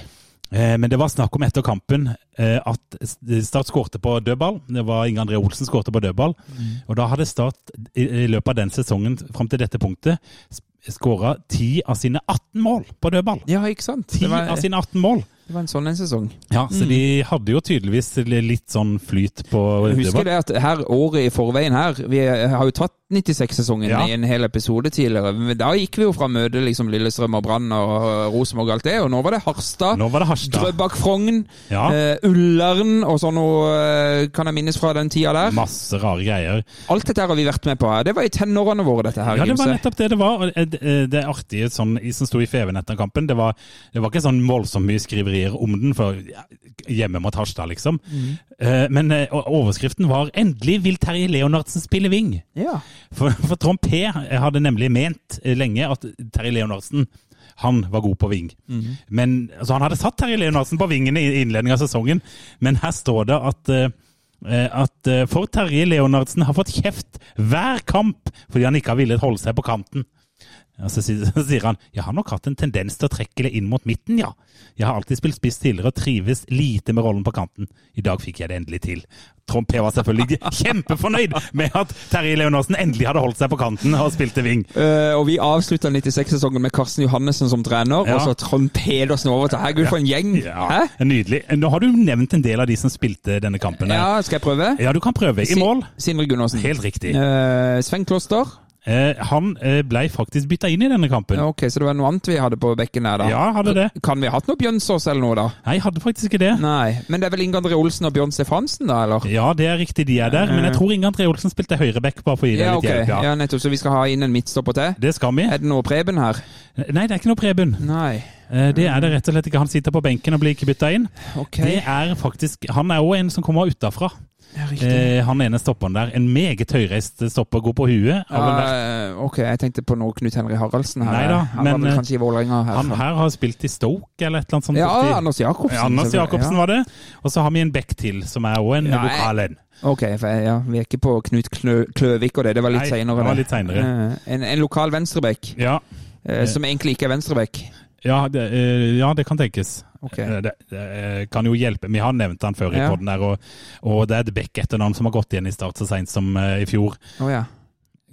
Eh, Men det var snakk om etter kampen eh, at Start skårte på dødball. Det var Inge André Olsen skårte på dødball. Mm. Og da hadde Start i, i løpet av den sesongen fram til dette punktet skåra 10 av sine 18 mål på dødball. Ja, ikke sant? 10 Det var, av sine 18 mål! det var en sånn en sesong. Ja, Så de hadde jo tydeligvis litt sånn flyt på dødball. Husker det at her året i forveien her Vi eh, har jo tatt 96-sesongen Ja. i en hel episode tidligere. Men da gikk vi jo fra møte liksom Lillestrøm og Brann og og Rosenborg og alt det, og nå var det Harstad. Nå var det Harstad. Drøbak Frogn, Ja. eh, Ullern og sånn noe eh, kan jeg minnes fra den tida der. Masse rare greier. Alt dette her har vi vært med på her. Det var i tenårene våre, dette her. Ja, det var Gimse. nettopp det det var. og Det, det artige sånn, som sto i Feven etter kampen, det var, det var ikke sånn voldsomt mye skriverier om den, for ja, hjemme mot Harstad, liksom. Eh, Men eh, og- overskriften var 'Endelig vil Terje Leonardsen spille wing'. Ja. For, for Trond P hadde nemlig ment eh, lenge at Terje Leonardsen han var god på ving. Men, altså, han hadde satt Terje Leonardsen på vingen i innledningen av sesongen, men her står det at eh, eh, at eh, for Terje Leonardsen har fått kjeft hver kamp fordi han ikke har villet holde seg på kanten. Og så sier, så sier han jeg har nok hatt en tendens til å trekke det inn mot midten, ja. Jeg har alltid spilt spiss tidligere og trives lite med rollen på kanten. I dag fikk jeg det endelig til. Trond P var selvfølgelig kjempefornøyd med at Terje Leonardsen endelig hadde holdt seg på kanten og spilte wing. Eh, og vi avslutta 96-sesongen med Karsten Johannessen som trener, Ja. og så Trond Pedersen over til Herregud, for en gjeng! Ja, Hæ? Nydelig. Nå har du nevnt en del av de som spilte denne kampen. Ja, skal jeg prøve? Ja, du kan prøve. I mål. Sin- Sindre Gundersen. Helt riktig. Eh, Sven Kloster. Eh, han eh, ble faktisk bytta inn i denne kampen. Ja, ok, så det var noe annet vi hadde på bekken der, da. Ja, hadde det. Kan vi ha hatt noe Bjønsås eller noe, da? Nei, hadde faktisk ikke det. Nei. Men det er vel Inge André Olsen og Bjørn Stefansen, da, eller? Ja, det er riktig, de er der. Men jeg tror Inge André Olsen spilte høyreback, bare for å gi deg Eh. Ja, litt ok. hjelp. Ja. Ja, nettopp. Så vi skal ha inn en midtstopper til? Det skal vi. Er det noe Preben her? Nei, det er ikke noe Preben. Nei. Eh, Det er det rett og slett ikke. Han sitter på benken og blir ikke bytta inn. Ok. Det er faktisk, Han er òg en som kommer utafra. Ja, riktig. Eh, han ene stopperen der. En meget høyreist stopper, går på huet. Har vel vært- Ja, ok, jeg tenkte på noe Knut Henry Haraldsen her. Nei da, han men, var eh, vel kanskje i Vålerenga her. han her har spilt i Stoke eller et eller annet sånt. ja, borti- Anders Jacobsen. Ja, Anders selvfølgelig. Jacobsen var det. Og så har vi en back til, som er òg en Ja, jeg- lokal en. Ok, for, ja, vi er ikke på Knut Klø Kløvik og det, det var litt Nei, senere. det var litt senere. Eh, En, en lokal venstrebekk, Ja, eh, som egentlig ikke er venstrebekk. ja, det, eh, ja, det kan tenkes. Ok. Eh, Det, det eh, kan jo hjelpe. Vi har nevnt han før i Ja. podden der, og, og det er et back etternavn som har gått igjen i Start så seint som eh, i fjor. Å ja.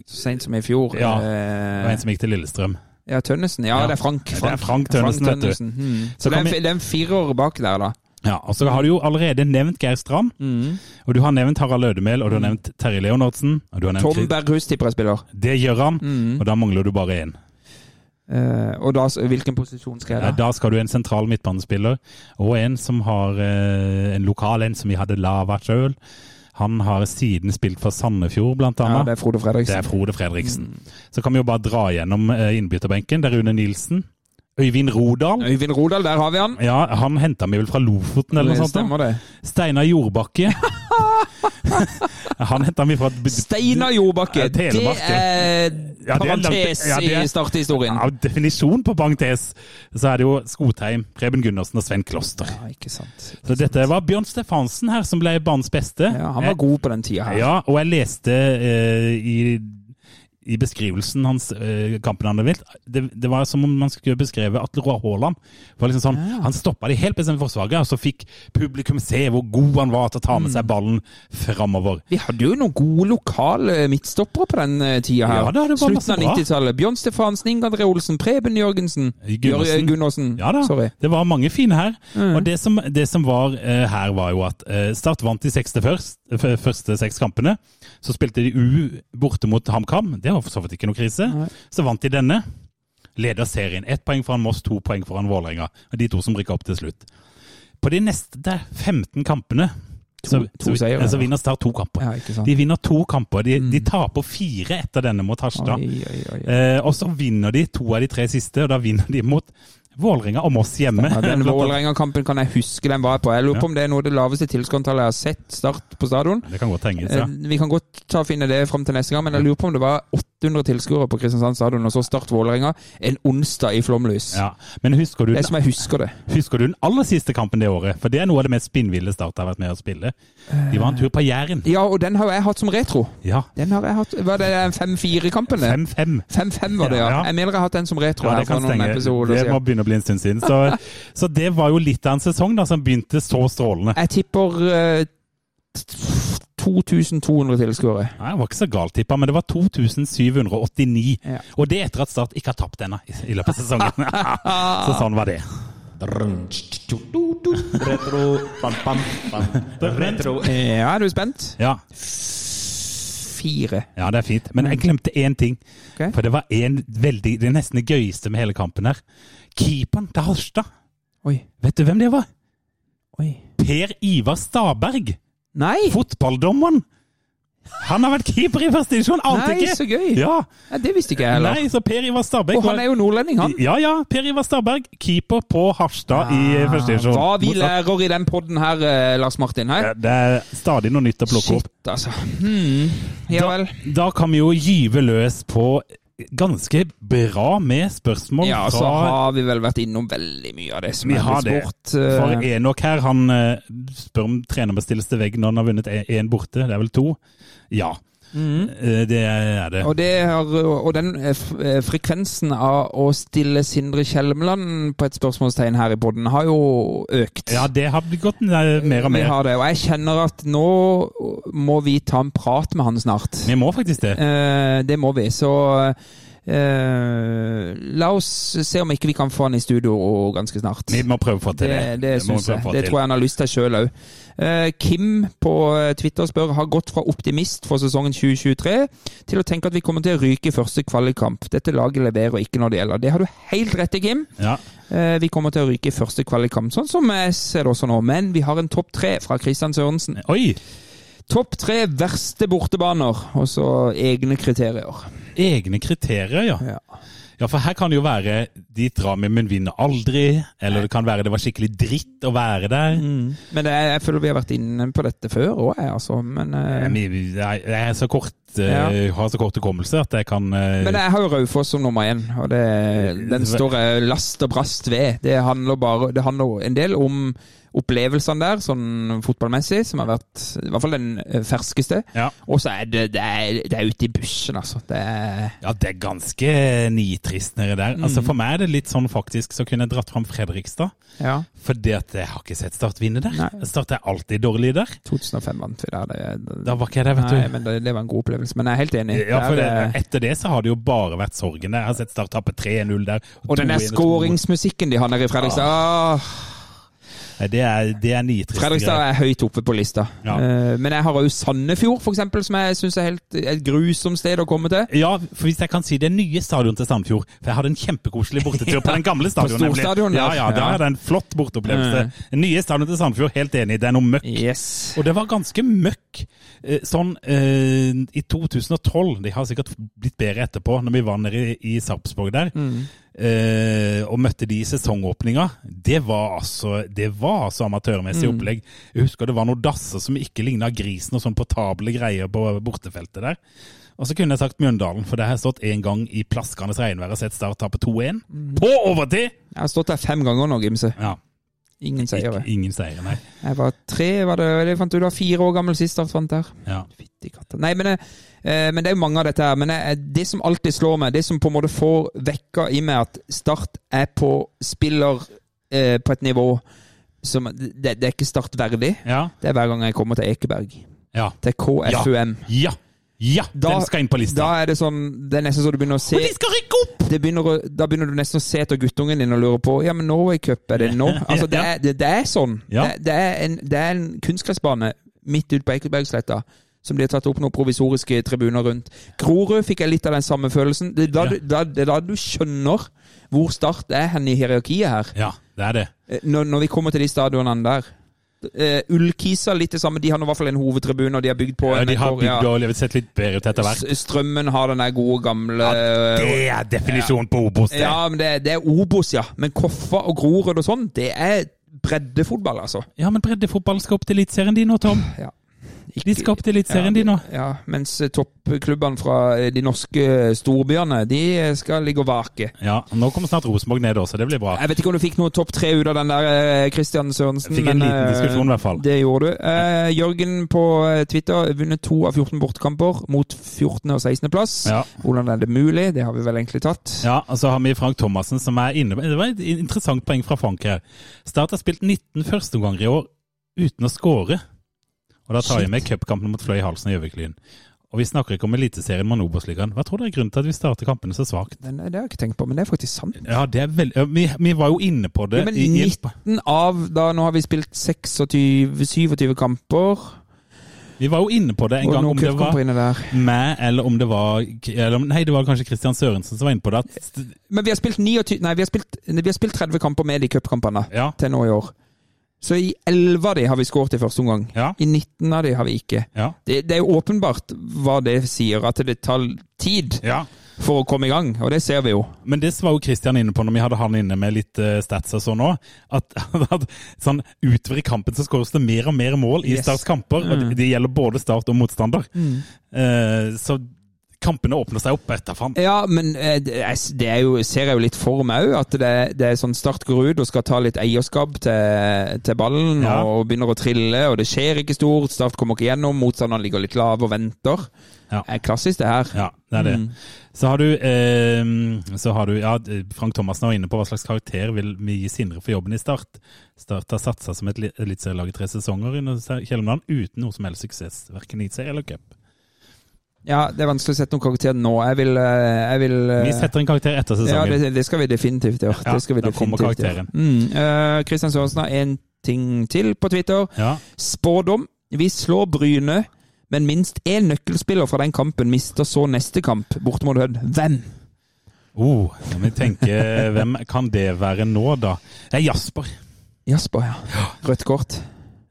Så sent som i fjor. Ja, eh, Og en som gikk til Lillestrøm. ja Tønnesen. Ja, Ja. det er Frank. Det er Frank Tønnesen, vet du. Hmm. Så Så det er, kan en, vi- fi- det er en firer bak der, da. Ja, og så har du jo allerede nevnt Geir Strand, Mm. og du har nevnt Harald Ødemel, og du har nevnt Terje Leonardsen. Og du har nevnt Tom Mm. Chris- Berghus tipper jeg spiller. Det gjør han, og da mangler du bare én. Eh, og da, s- hvilken posisjon skal Nei, jeg da? Da skal du en sentral midtbanespiller, og en som har eh, en lokal en som vi hadde lava sjøl. Han har siden spilt for Sandefjord, blant Ja, annet. det er Mm. Frode det, Fredriksen. er Frode Fredriksen. Så kan vi jo bare dra gjennom eh, innbytterbenken. Det er Rune Nilsen. Øyvind Rodal. Øyvind Rodal, der har vi han. Ja, han henta vi vel fra Lofoten eller noe sånt. Stemmer da. det. Steinar Jordbakke. han henta vi fra Steinar Jordbakke, Ja, det Telemark, ja. er Ja, det er langt- parentes ja, det er- i starthistorien. Av definisjon på parentes, så er det jo Skotheim, Preben Gundersen og Sven Kloster. Ja, ikke sant. Så dette var Bjørn Stefansen her som ble banens beste. Ja, han var god på den tida her. Eh, Ja, og jeg leste eh, i, i beskrivelsen hans eh, kampen han hadde vilt, det, det var som om man skulle beskrevet Atle Roar Haaland. Det var liksom sånn, Han stoppa det helt bestemt forsvaret, og så fikk publikum se hvor god han var til å ta Mm. med seg ballen framover. Vi hadde jo noen gode lokale midtstoppere på den eh, tida her. Ja da, det var masse Slutten av bra. 90-tallet. Bjørn Stefansen, Inge André Olsen, Preben Jørgensen. Gundersen. Jør- Gundersen. Ja da, Sorry. Mm. det var mange fine her. Og det som, det som var eh, her, var jo at eh, Start vant de seks til først, f- første seks kampene. Så spilte de U borte mot HamKam. Det var for så vidt ikke noe krise. Så vant de denne. Leder serien. Ett poeng foran Moss, to poeng foran Vålerenga. Og De to som rykka opp til slutt. På de neste der 15 kampene så, to så, seier, eh, så ja. vinner Start to kamper. Ja, ikke sant. de vinner to kamper. De, de taper fire etter denne mot Harstad. Oi, oi, oi. Eh, og så vinner de to av de tre siste, og da vinner de mot Vålerenga og Moss hjemme. Ja, den Blant annet. Vålerenga-kampen kan jeg huske den var jeg på. Jeg lurer på om det er noe av det laveste tilskuertallet jeg har sett Start på stadion. Det kan godt henges, Eh, ja. Vi kan godt ta og finne det fram til neste gang, men jeg lurer på om det var 800 tilskuere på Kristiansand stadion, og så Start Vålerenga en onsdag i flomlys. ja. Men husker du, Det er den, som jeg husker det. husker du den aller siste kampen det året? For det er noe av det mest spinnville Start har vært med å spille. De var en tur på Jæren. Ja, og den har jo jeg hatt som retro. Ja. Den har jeg hatt Var det den 5-4-kampen? det? 5-5. 5-5 var det, ja. Ja, ja. Jeg mener jeg har hatt den som retro Ja, her det kan for noen stenge. episoder Det må siden. begynne å bli en stund siden. Så, så det var jo litt av en sesong da, som begynte så strålende. Jeg tipper eh, t- 2200 tilskuere. Nei, det var ikke så galt tippa, men det var 2789. Ja. Og det etter at Start ikke har tapt ennå i i løpet av sesongen. så sånn var det. Ja, er du spent? Ja, Fire. ja, det er fint. Men jeg glemte én ting. Ok. For det var en veldig, det er nesten det gøyeste med hele kampen her. Keeperen til Harstad, Oi. vet du hvem det var? Oi. Per Ivar Staberg, Nei! fotballdommeren! Han har vært keeper i første divisjon, ante Nei, ikke! så gøy. Ja, Nei, det visste ikke jeg heller. Nei, så Per Ivar Staberg Og han er jo nordlending, han. Ja, ja. Per Ivar Staberg, keeper på Harstad i første divisjon. Ah, Hva vi Mot- lærer i den podden her, eh, Lars Martin. Her. Ja, Det er stadig noe nytt å plukke opp. Shit, altså. Hmm. Ja vel. Da kan vi jo gyve løs på ganske bra med spørsmål Ja, så fra har vi vel vært innom veldig mye av det som Vi er har blitt det. spurt. For eh, Enok her, e- han eh, spør om trener bestilles til vegg når han har vunnet én borte. Det er vel to? Ja. Eh, Det er det. Mm. Og, det har, og den eh, f- eh, frekvensen av å stille Sindre Kjelmeland på et spørsmålstegn her i podden har jo økt. Ja, det har blitt gått eh, mer og Vi mer. har det, og jeg kjenner at nå må vi ta en prat med han snart. Vi må faktisk det. Eh, det må vi, så eh, la oss se om ikke vi kan få han i studio ganske snart. Vi må prøve å få til det. Det, må det vi syns prøve jeg. å få Det til. tror jeg han har lyst til sjøl òg. Kim på eh, Twitter spør har gått fra optimist for sesongen 2023 til å tenke at vi kommer til å ryke i første kvalikkamp. Dette laget leverer ikke når det gjelder. Det har du helt rett i, Kim. Ja. Eh, Vi kommer til å ryke i første kvalikkamp, sånn som jeg ser det også nå. Men vi har en topp tre fra Christian Sørensen. Oi! Topp tre verste bortebaner, og så egne kriterier. Egne kriterier, ja. Ja. Ja, for her kan det jo være dit drar vi, men vinner aldri. Eller det kan være det var skikkelig dritt å være der. Men det, er- jeg føler vi har vært inne på dette før òg, jeg, altså. Men, eh, Men Jeg, jeg er så kort, Ja. eh, har så kort hukommelse at jeg kan eh, Men jeg har jo Raufoss som nummer én, og det, den står jeg last og brast ved. Det handler, bare, det handler en del om opplevelsene der, sånn fotballmessig, som har vært i hvert fall den eh, ferskeste. Ja. Og så er det, det, er, det er ute i bushen, altså. Det er, Ja, det er ganske nitrist nede der. Mm. Altså For meg er det litt sånn faktisk så kunne jeg dratt fram Fredrikstad. ja. Fordi at jeg har ikke sett Start vinne der. Nei. Start er alltid dårlig der. 2005 vant vi der. Det, Da var ikke jeg der, vet nei, du. men det, det var en god opplevelse. Men jeg er helt enig. Ja, for Det det, er- eh, Etter det så har det jo bare vært sorgen. Jeg har sett Start tape 3-0 der. og den der 2-1 og 2-1. skåringsmusikken de har nede i Fredrikstad ah. Nei, Det er, det er nitrist. Fredrikstad er høyt oppe på lista. Ja. Eh, Men jeg har òg Sandefjord, for eksempel, som jeg syns er helt, et grusomt sted å komme til. Ja, for hvis jeg kan si det nye stadion til Sandfjord For jeg hadde en kjempekoselig bortetur på den gamle stadion. nemlig. storstadion, ja, ja. ja, da Ja. er det en flott borteopplevelse. Den nye stadion til Sandfjord, helt enig, det er noe møkk. Yes. Og det var ganske møkk eh, sånn eh, i 2012. De har sikkert blitt bedre etterpå, når vi var nede i, i Sarpsborg der. Mm. Eh, og møtte de i sesongåpninga. Det var altså Det var altså amatørmessig Mm. opplegg. Jeg husker det var noen dasser som ikke ligna grisen, og sånn portable greier på bortefeltet der. Og så kunne jeg sagt Mjøndalen, for det har jeg stått én gang i plaskende regnvær og sett Start tape 2-1. Mm. På overtid! Jeg har stått der fem ganger nå, Gimse. Ja, Ingen seire. ikke, ingen seier, nei. Jeg var tre, var det, eller fant du da fire år gammel sist jeg fant der. Ja. Fytti katta. Nei, men, eh, eh, men det er jo mange av dette her. Men eh, det som alltid slår meg, det som på en måte får vekka i meg at Start er på spiller eh, på et nivå som det, det er ikke Start verdig. Ja. Det er hver gang jeg kommer til Ekeberg. Ja. Til KFUM. Ja! Ja! den skal inn på lista. Da er det sånn Det er nesten så du begynner å se Og de skal rykke opp! det begynner, å- Da begynner du nesten å se etter guttungen din og lure på Ja, men Norway Cup, er det nå? Altså, det er, det, det er sånn. Ja. Det, det, er en, det er en kunstgressbane midt ute på Ekebergsletta. Som de har tatt opp noen provisoriske tribuner rundt. Grorud fikk jeg litt av den samme følelsen. Det er da, du- da, det er da du skjønner hvor Start er hen i hierarkiet her. Ja, det er det. Eh, Når, når vi kommer til de stadionene der. Eh, Ullkisa litt det samme. De har nå i hvert fall en hovedtribune, og de har bygd på Ja, en de har kor- bygd ja. og levet sett litt bedre ut etter hvert. S- Strømmen har den der gode, gamle eh, Det er definisjonen på Obos. det. Ja, men det, det er Obos, ja. Men Koffa og Grorud og sånn, det er breddefotball, altså. ja, men breddefotball skal opp til Eliteserien de nå, Tom. Ikke- De skal opp til Eliteserien de nå. Ja, mens eh, toppklubbene fra eh, de norske storbyene, de eh, skal ligge og vake. Ja, Nå kommer snart Rosenborg ned også, det blir bra. Jeg vet ikke om du fikk noe topp tre ut av den der, eh, Christian Sørensen. Jeg fikk en men, liten eh, diskusjon i hvert fall. Det gjorde du. Eh, Jørgen på eh, Twitter vunnet to av 14 bortkamper mot 14. og 16. plass. Ja. Hvordan er det mulig? Det har vi vel egentlig tatt. Ja, og så har vi Frank Thomassen som er inne Det var et interessant poeng fra Frank her. Start har spilt 19 førsteomganger i år uten å skåre. Og da tar jeg med cupkampen mot Fløy Halsen og Gjøviklyn. Og vi snakker ikke om Eliteserien, men Obos-ligaen. Hva tror dere er grunnen til at vi starter kampene så svakt? Den, det har jeg ikke tenkt på, men det er faktisk sant. Ja, det er veldig... Vi, vi var jo inne på det. Ja, men i- i- 19 av da, Nå har vi spilt 26, 27 kamper. Vi var jo inne på det en Og gang, noen om det var cupkamper inne der. meg, eller om det var eller, om- Nei, det var kanskje Kristian Sørensen som var inne på det. At, Men vi har spilt, 29, nei, vi har spilt, vi har spilt 30 kamper med de cupkampene ja, til nå i år. Så i 11 av de har vi skåret i første omgang. Ja. I 19 av de har vi ikke. ja, Det, det er jo åpenbart hva det sier, at det tar tid ja. for å komme i gang, og det ser vi jo. Men det var jo Kristian inne på når vi hadde han inne med litt eh, stats og sånn òg. At, at sånn utover i kampen så skåres det mer og mer mål i Yes. Mm. Starts kamper. Og det, det gjelder både Start og motstander. Eh, så kampene åpner seg opp etter faen. Ja, men eh, det jeg- det er jo, ser jeg jo litt for meg òg, at det, det er sånn Start går ut og skal ta litt eierskap til, til ballen, Ja. og begynner å trille, og det skjer ikke stort. Start kommer ikke gjennom, motstanderen ligger litt lav og venter. Ja. Det er klassisk, det her. Ja, det er det. Mm. Så har du, eh, så har du ja, Frank Thomassen var inne på hva slags karakter vil vi gi Sindre for jobben i Start. Start har satsa som et li- eliteserielag i tre sesonger under Se- Kjellemland uten noe som helst suksess, verken i serie eller cup. Ja, det er vanskelig å sette noen karakter nå. Jeg vil, eh, jeg vil eh, Vi setter en karakter etter Ja, sesongen. det, det skal vi definitivt gjøre. Ja, det skal vi da kommer definitivt gjøre. karakteren. Mm. Eh, Christian Sørensen har en ting til på Twitter. Ja, Spådom. Vi slår Bryne, men minst én nøkkelspiller fra den kampen mister så neste kamp, borte mot Hødd. Hvem? oh, ja men tenke, Hvem kan det være nå, da? Det er Jasper. Jasper, ja. Rødt kort.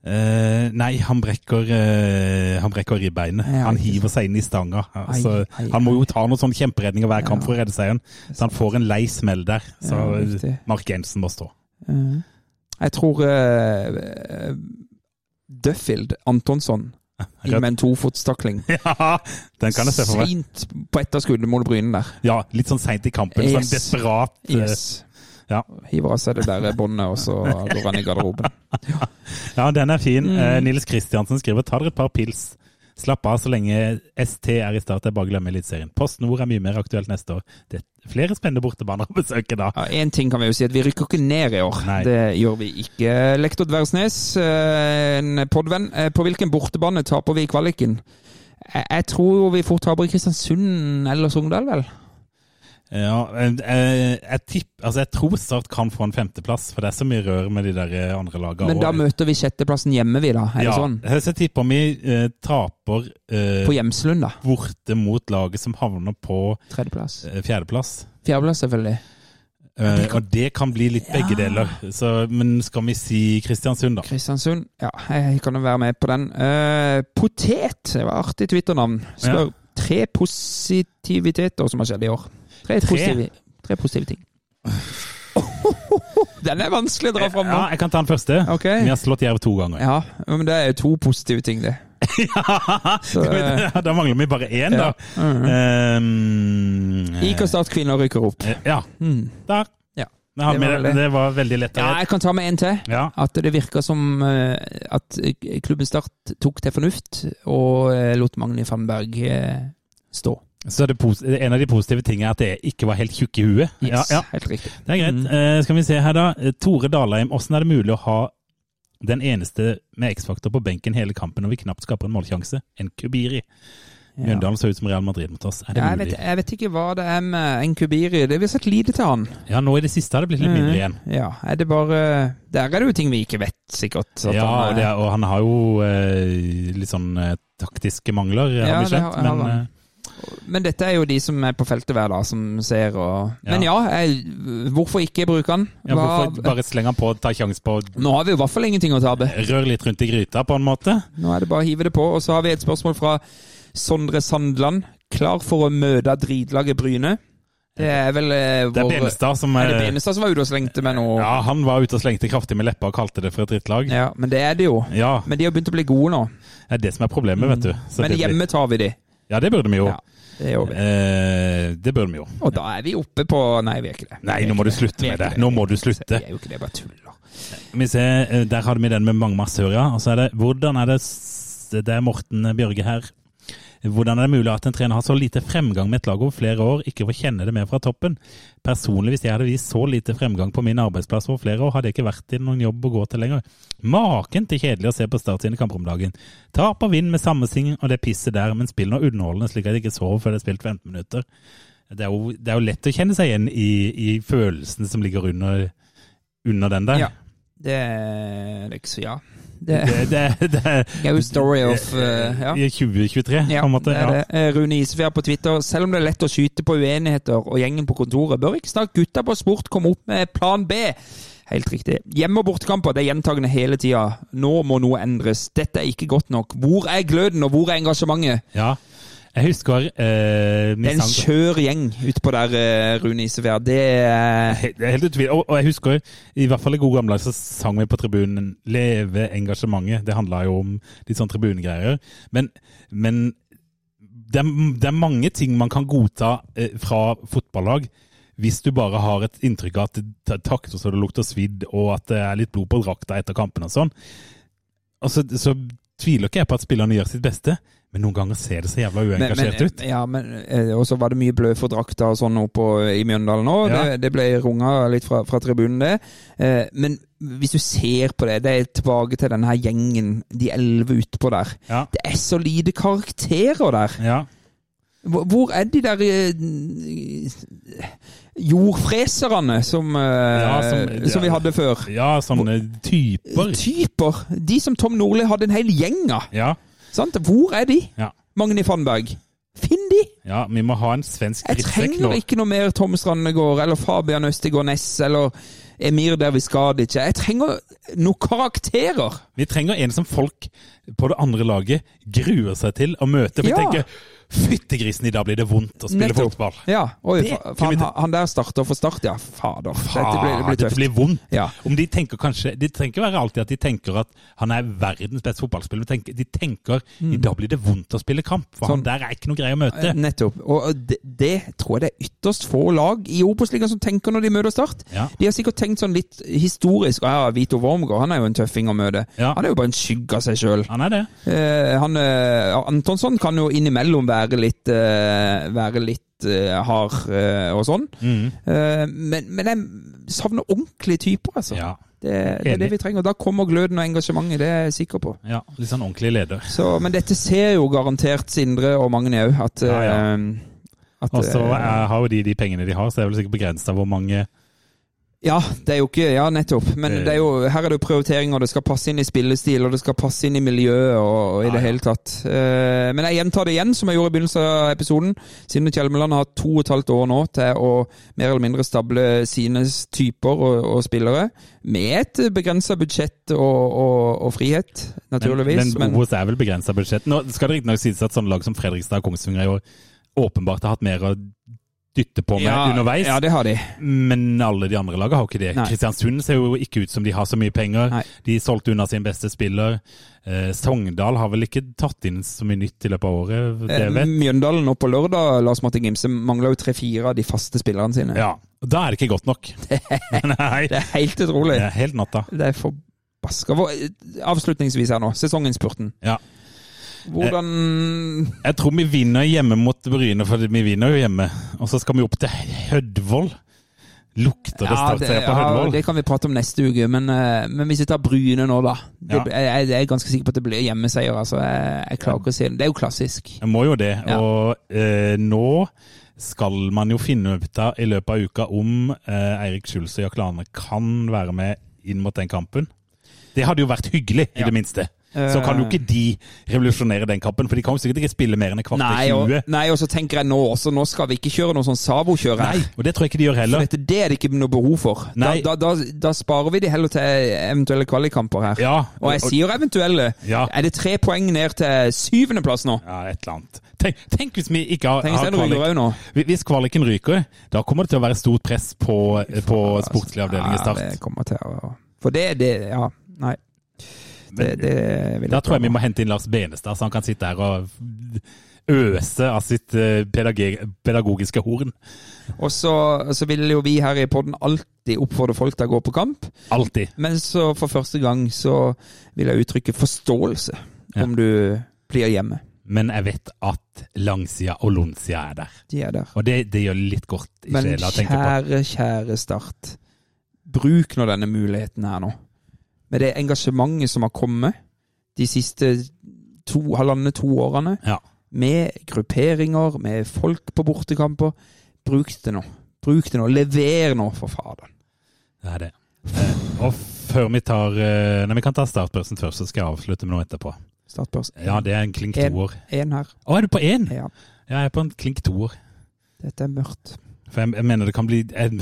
Eh, nei, han brekker, eh, han brekker ribbeinet. Ja, han ikke hiver seg inn i stanga. Altså, Ai, ai, han må jo ta noen sånne kjemperedninger hver kamp Ja. for å redde seieren. Så han får en lei smell der. Så eh, Ja, riktig. Mark Jensen må stå. Eh, jeg tror eh, Duffield Antonsson inn med en tofotstakling. Ja, den kan jeg se for meg. Seint på etterskuddet mot Bryne der. Ja, Litt sånn seint i kampen. Sånn Yes. desperat. eh, Yes. ja. Hiver av seg det der båndet, og så går han i garderoben. Ja, den er fin. Mm. Eh, Nils Kristiansen skriver ta dere et par pils. Slapp av så lenge ST er i start. Det er bare å glemme Eliteserien. Post Nord er mye mer aktuelt neste år. Det er flere spennende bortebaner å besøke da. Ja, en ting kan vi jo si, at vi rykker ikke ned i år. Nei. Det gjør vi ikke. Lektor Dversnes, eh, en podvenn. eh, På hvilken bortebane taper vi i kvaliken? Jeg, jeg tror jo vi fort taper i Kristiansund eller Sogndal, vel? Ja, eh, eh, jeg, tipp, altså jeg tror Start kan få en femteplass, for det er så mye rør med de der eh, andre lagene. Men da møter vi sjetteplassen hjemme, vi, da. Er ja, det sånn? Så jeg tipper vi eh, taper eh, På Hjemslund, da. borte mot laget som havner på Tredjeplass. eh, fjerdeplass. Fjerdeplass, selvfølgelig. Eh, og det kan bli litt begge deler. Så, men skal vi si Kristiansund, da? Kristiansund. Ja, jeg kan jo være med på den. Eh, potet det var artig Twitter-navn. Spør tre positiviteter som har skjedd i år. Tre, Positive, tre positive ting. den er vanskelig å dra fram nå. Ja, jeg kan ta den første. Ok. Vi har slått Jerv to ganger. Ja, men det er jo to positive ting, det. Så, eh, Ja, da mangler vi bare én, da. Eh, IK Start kvinner rykker opp. eh, ja. Der. Ja. Det, har Det vi var det. veldig- det var veldig lett. Ja, jeg kan ta med en til. Ja. At det virker som eh, at klubben Start tok til fornuft og eh, lot Magni Fannberg eh, stå. Så er det pos- en av de positive tingene er at det ikke var helt tjukk i huet. Ja, Yes, Mm. ja, Helt riktig. det er greit. Eh, skal vi se her, da. Eh, Tore Dalheim, hvordan er det mulig å ha den eneste med X-faktor på benken hele kampen når vi knapt skaper en målsjanse? En Kubiri. Mjøndalen så ut som Real Madrid mot oss. Er det Ja, jeg, mulig? vet, jeg vet ikke hva det er med Nkubiri. Det Vi har sett lite til han. Ja, nå i det siste har det blitt litt Mm. mindre igjen. Ja, er det bare Der er det jo ting vi ikke vet, sikkert. at Ja, han er- og, det, er- og han har jo eh, litt sånn eh, taktiske mangler, eh, Ja, har vi det skjønt. har- har men han. eh, Men dette er jo de som er på feltet hver dag, som ser og Men ja, jeg, hvorfor ikke bruke han? ja, Hva- hvorfor bare Eh. slenge han på og ta sjanse på å Nå har vi i hvert fall ingenting å tape. røre litt rundt i gryta, på en måte? Nå er det bare å hive det på. Og så har vi et spørsmål fra Sondre Sandland. Klar for å møte dritlaget Bryne? Det er vel eh, Det er vår- Benestad som Er det eh, Benestad som var ute og slengte med noe? Ja, han var ute og slengte kraftig med leppa og kalte det for et drittlag. ja. Men det er det jo. Ja, Men de har begynt å bli gode nå. det er det som er problemet, vet du. Så Mm. Men det blir- hjemme tar vi de. Ja, det burde vi jo. Ja, det gjør vi. Eh, det burde vi jo. Og da er vi oppe på Nei, vi er ikke det. Nei, nå må du slutte med det. Nå må du slutte. Vi er jo ikke det, bare tuller. Skal vi se, eh, der hadde vi den med Mang Masør, ja. Og så er det hvordan er det s- Det er Morten Bjørge her. Hvordan er det mulig at en trener har så lite fremgang med et lag over flere år, ikke får kjenne det mer fra toppen? Personlig, hvis jeg hadde vist så lite fremgang på min arbeidsplass over flere år, hadde jeg ikke vært i noen jobb å gå til lenger. Maken til kjedelig å se på Start sine kamper om dagen. Tap og vinn med samme sing og det pisset der, men spill nå underholdende slik at jeg ikke sover før det er spilt 15 minutter. Det er jo, det er jo lett å kjenne seg igjen i, i følelsen som ligger under, under den der. Ja. Det er ikke så Ja. Det Det, det, det er jo story of eh, Ja. I 2023, Ja, på en måte. det er Ja. det. Eh, Rune Isefjær på Twitter. Selv om det er lett å skyte på uenigheter og gjengen på kontoret, bør ikke snart gutta på sport komme opp med plan B? Helt riktig. Hjemme- og bortekamper det er gjentagende hele tida. Nå må noe endres. Dette er ikke godt nok. Hvor er gløden, og hvor er engasjementet? ja. Jeg husker eh, vi Det er en sang- skjør gjeng utpå der, eh, Rune Isefjær. Det er He- det er Helt utvil. Og, og jeg husker, i hvert fall i gode gamle dager, så sang vi på tribunen 'Leve engasjementet'. Det handla jo om litt sånn tribunegreier. Men, men det, er, det er mange ting man kan godta eh, fra fotballag hvis du bare har et inntrykk av at det takter så det lukter svidd, og at det er litt blod på drakta etter kampen og sånn. Altså, så tviler ikke jeg på at spillerne gjør sitt beste, men noen ganger ser det så jævla Men- uengasjert men- ut. Ja, men eh, Og så var det mye blø for drakta og sånn oppå i Mjøndalen òg. Ja. Det, det ble runga litt fra, fra tribunen, det. Eh, Men hvis du ser på det, det er tilbake til denne her gjengen, de elleve utpå der. Ja. Det er så lite karakterer der. Ja. Hvor- Hvor er de der eh, jordfreserne som, eh, Ja, som- som, vi hadde før? ja, sånne typer. Typer! De som Tom Nordli hadde en hel gjeng av. Ja. Sant? Hvor er de? Ja. Magni Fannberg. Finn de! ja, vi må ha en svensk Jeg drittsekk trenger nå. ikke noe mer Tom Strandegård eller Fabian Østegård Næss eller Emir Derviskadic. Jeg trenger noen karakterer. Vi trenger en som folk på det andre laget gruer seg til å møte. For Ja. jeg tenker, fyttegrisen, i dag blir det vondt å spille Nettopp. fotball. Ja. Oi, Det fa kunne vi faen, ta- han- han der starter for Start, ja. Fader. Dette blir, det Ah, blir dette tøft. blir vondt. Ja. Om de tenker kanskje, de tenker være alltid at de tenker at han er verdens beste fotballspiller. men tenker- De tenker i dag blir det vondt å spille kamp, for han Sånn. der er ikke noe greie å møte. Nettopp. Og det, det tror jeg det er ytterst få lag i Obos-ligaen som tenker når de møter Start. Ja. De har sikkert tenkt sånn litt historisk Ja, Vito Wormgård han er jo en tøffing å møte. Ja. Han er jo bare en skygge av seg sjøl. Han er det. Eh, han, eh, Antonsson kan jo innimellom være litt eh, Være litt eh, hard eh, og sånn. Mm. Eh, men, men jeg savner ordentlige typer, altså. Ja. Det, det er Enig. det vi trenger. og Da kommer gløden og engasjementet, det er jeg sikker på. ja. Litt sånn ordentlig leder. Så, men dette ser jo garantert Sindre og Magni òg, at, Ja, ja. eh, at Og så eh, er- har jo de de pengene de har, så det er vel sikkert begrensa hvor mange Ja, det er jo ikke Ja, nettopp. Men Eh. det er jo, her er det jo prioriteringer. Det skal passe inn i spillestil, og det skal passe inn i miljøet og, og i det hele tatt. Eh, men jeg gjentar det igjen, som jeg gjorde i begynnelsen av episoden. Sindre Kjelmeland har to og et halvt år nå til å mer eller mindre stable sine typer og, og spillere. Med et begrensa budsjett og, og, og frihet, naturligvis. Men, men Obos er vel begrensa budsjett. Nå skal det riktignok sies at sånne lag som Fredrikstad og Kongsvinger i år åpenbart har hatt mer å dytte på med underveis. Ja, det har de. Men alle de andre lagene har jo ikke det. Nei. Kristiansund ser jo ikke ut som de har så mye penger. Nei. De solgte unna sin beste spiller. Eh, Sogndal har vel ikke tatt inn så mye nytt i løpet av året, det Eh, jeg vet Mjøndalen nå på lørdag, Lars Martin Gimse, mangler jo tre-fire av de faste spillerne sine. Ja. Da er det ikke godt nok. Nei, Det er helt utrolig. det er helt natta. Det er forbaska Hvor- Avslutningsvis her nå, sesonginnspurten. Ja. Eh, Hvordan Jeg tror vi vinner hjemme mot Bryne, for vi vinner jo hjemme. Og så skal vi opp til Hødvold. Lukter det ja, Start det, C på ja, Hødvold? det kan vi prate om neste uke, men, eh, men hvis vi tar Bryne nå, da. Det, Ja. jeg, jeg er ganske sikker på at det blir hjemmeseier. Altså. Jeg, jeg klarer ikke å se det. Det er jo klassisk. Jeg må jo det. Ja. Og eh, nå skal man jo finne ut av i løpet av uka om eh, Eirik Schulz og Jaklane kan være med inn mot den kampen. Det hadde jo vært hyggelig, i det minste. Så kan jo ikke Eh. de revolusjonere den kampen, for de kan jo sikkert ikke spille mer enn et kvarter Nei og, 20. nei, og så tenker jeg nå også, nå skal vi ikke kjøre noe sånn Savo-kjør her. Nei, og det tror jeg ikke de gjør For heller. dette, det er det ikke noe behov for. Da, Nei. da, da, da sparer vi de heller til eventuelle kvalikkamper her. Ja, Og jeg sier eventuelle. Ja. Er det tre poeng ned til syvendeplass nå? ja, et eller annet. Tenk, tenk hvis vi ikke har, Tenk har hvis den ryker kvalik. òg nå. Hvis kvaliken ryker, da kommer det til å være stort press på, på sportslig avdeling i altså. Ja, det Start. kommer til å For det, det Ja, nei. Det, det vil Da tror jeg vi prøve. må hente inn Lars Benestad, så han kan sitte her og øse av sitt eh, pedage- pedagogiske horn. Og så, så vil jo vi her i podden alltid oppfordre folk til å gå på kamp, Alltid. men så for første gang så vil jeg uttrykke forståelse Ja. om du blir hjemme. Men jeg vet at langsida og lundsida er der. De er der. Og det, det gjør litt godt i Men sjela å tenke på. kjære, kjære Start. Bruk nå denne muligheten her nå. Med det engasjementet som har kommet de siste to, halvannet to årene. Ja. med grupperinger, med folk på bortekamper. Bruk det nå. Bruk det nå. Lever nå, for fader. Det er det. Eh, Og før vi tar eh, Nei, vi kan ta startbørsen først, så skal jeg avslutte med noe etterpå. Startbørs. Ja, det er en klink En. toer. Én her. Å, er du på én? Ja. Ja, jeg er på en klink toer. Dette er mørkt. For jeg, jeg mener det kan bli jeg,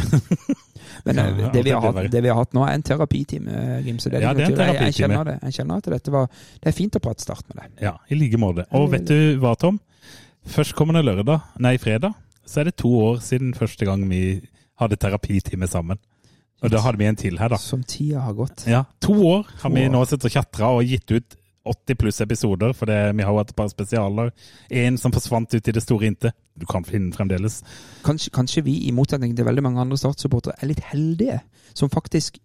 Men Ja, eh, ja, det, vi har det blir hatt, verre. det vi har hatt nå, er en terapitime, eh, Gimse. Ja, det er en definitivt. Jeg- Jeg terapitime. kjenner det. Jeg kjenner at dette var Det er fint å prate start med det. Ja, i like måte. Og vet du hva, Tom? Førstkommende lørdag, nei fredag, så er det to år siden første gang vi hadde terapitime sammen. Og da hadde vi en til her, da. Som tida har gått. Ja, To år har vi år. nå sittet og tjatra og gitt ut 80 pluss episoder, for det, vi har jo hatt et par spesialer. En som forsvant ut i det store intet. Du kan finne den fremdeles. Kanskje, kanskje vi, i motsetning til veldig mange andre Start-supportere, er litt heldige som faktisk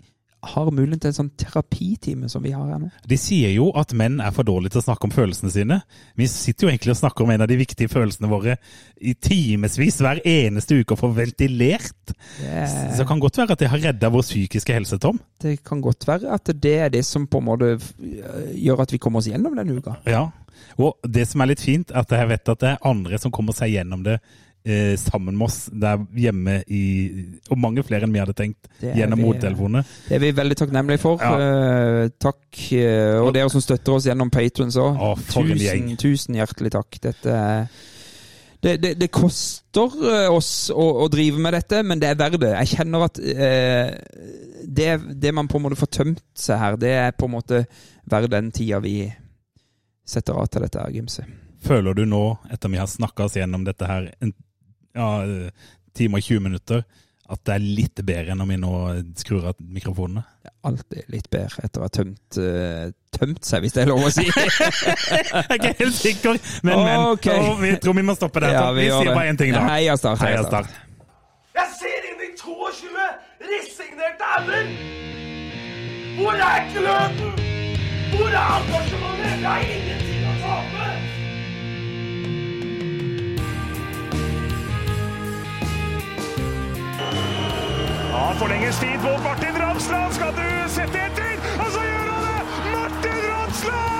har muligheten til en sånn terapitime som vi har her nå. De sier jo at menn er for dårlige til å snakke om følelsene sine. Vi sitter jo egentlig og snakker om en av de viktige følelsene våre i timevis hver eneste uke og får ventilert. Så det kan godt være at det har redda vår psykiske helse, Tom. Det kan godt være at det er det som på en måte øh, gjør at vi kommer oss gjennom denne uka. Ja. Og det som er litt fint, er at jeg vet at det er andre som kommer seg gjennom det eh, sammen med oss der hjemme i Og mange flere enn vi hadde tenkt. Det er Gjennom vi- hodetelefonene. Det er vi veldig takknemlige for. Eh, takk. eh, og dere som støtter oss gjennom Patrons òg. Å, for en Tusen, gjeng. tusen hjertelig takk. Dette er- det, det, det koster eh, oss å, å drive med dette, men det er verdt det. Jeg kjenner at eh, det, det man på en måte får tømt seg her, det er på en måte verdt den tida vi setter av til dette her, Gimse. Føler du nå, etter vi har snakka oss gjennom dette her en ja, eh, time og 20 minutter, at det er litt bedre enn om vi nå skrur av mikrofonene? Alltid litt bedre etter å ha tømt, eh, tømt seg, hvis det er lov å si. Jeg er ikke helt sikker, men, men. Ok. Og vi tror vi må stoppe der. Tom. vi gjør sier det. bare én ting, da. Heia Start. Heia Start. Jeg ser inn i 22 resignerte ender! Hvor er gløden? Hvor er engasjementet? Jeg har ingenting å tape! Ja, forlenges tid på Martin Ramsland. Skal du sette etter? Og så gjør han det! Martin Ramsland!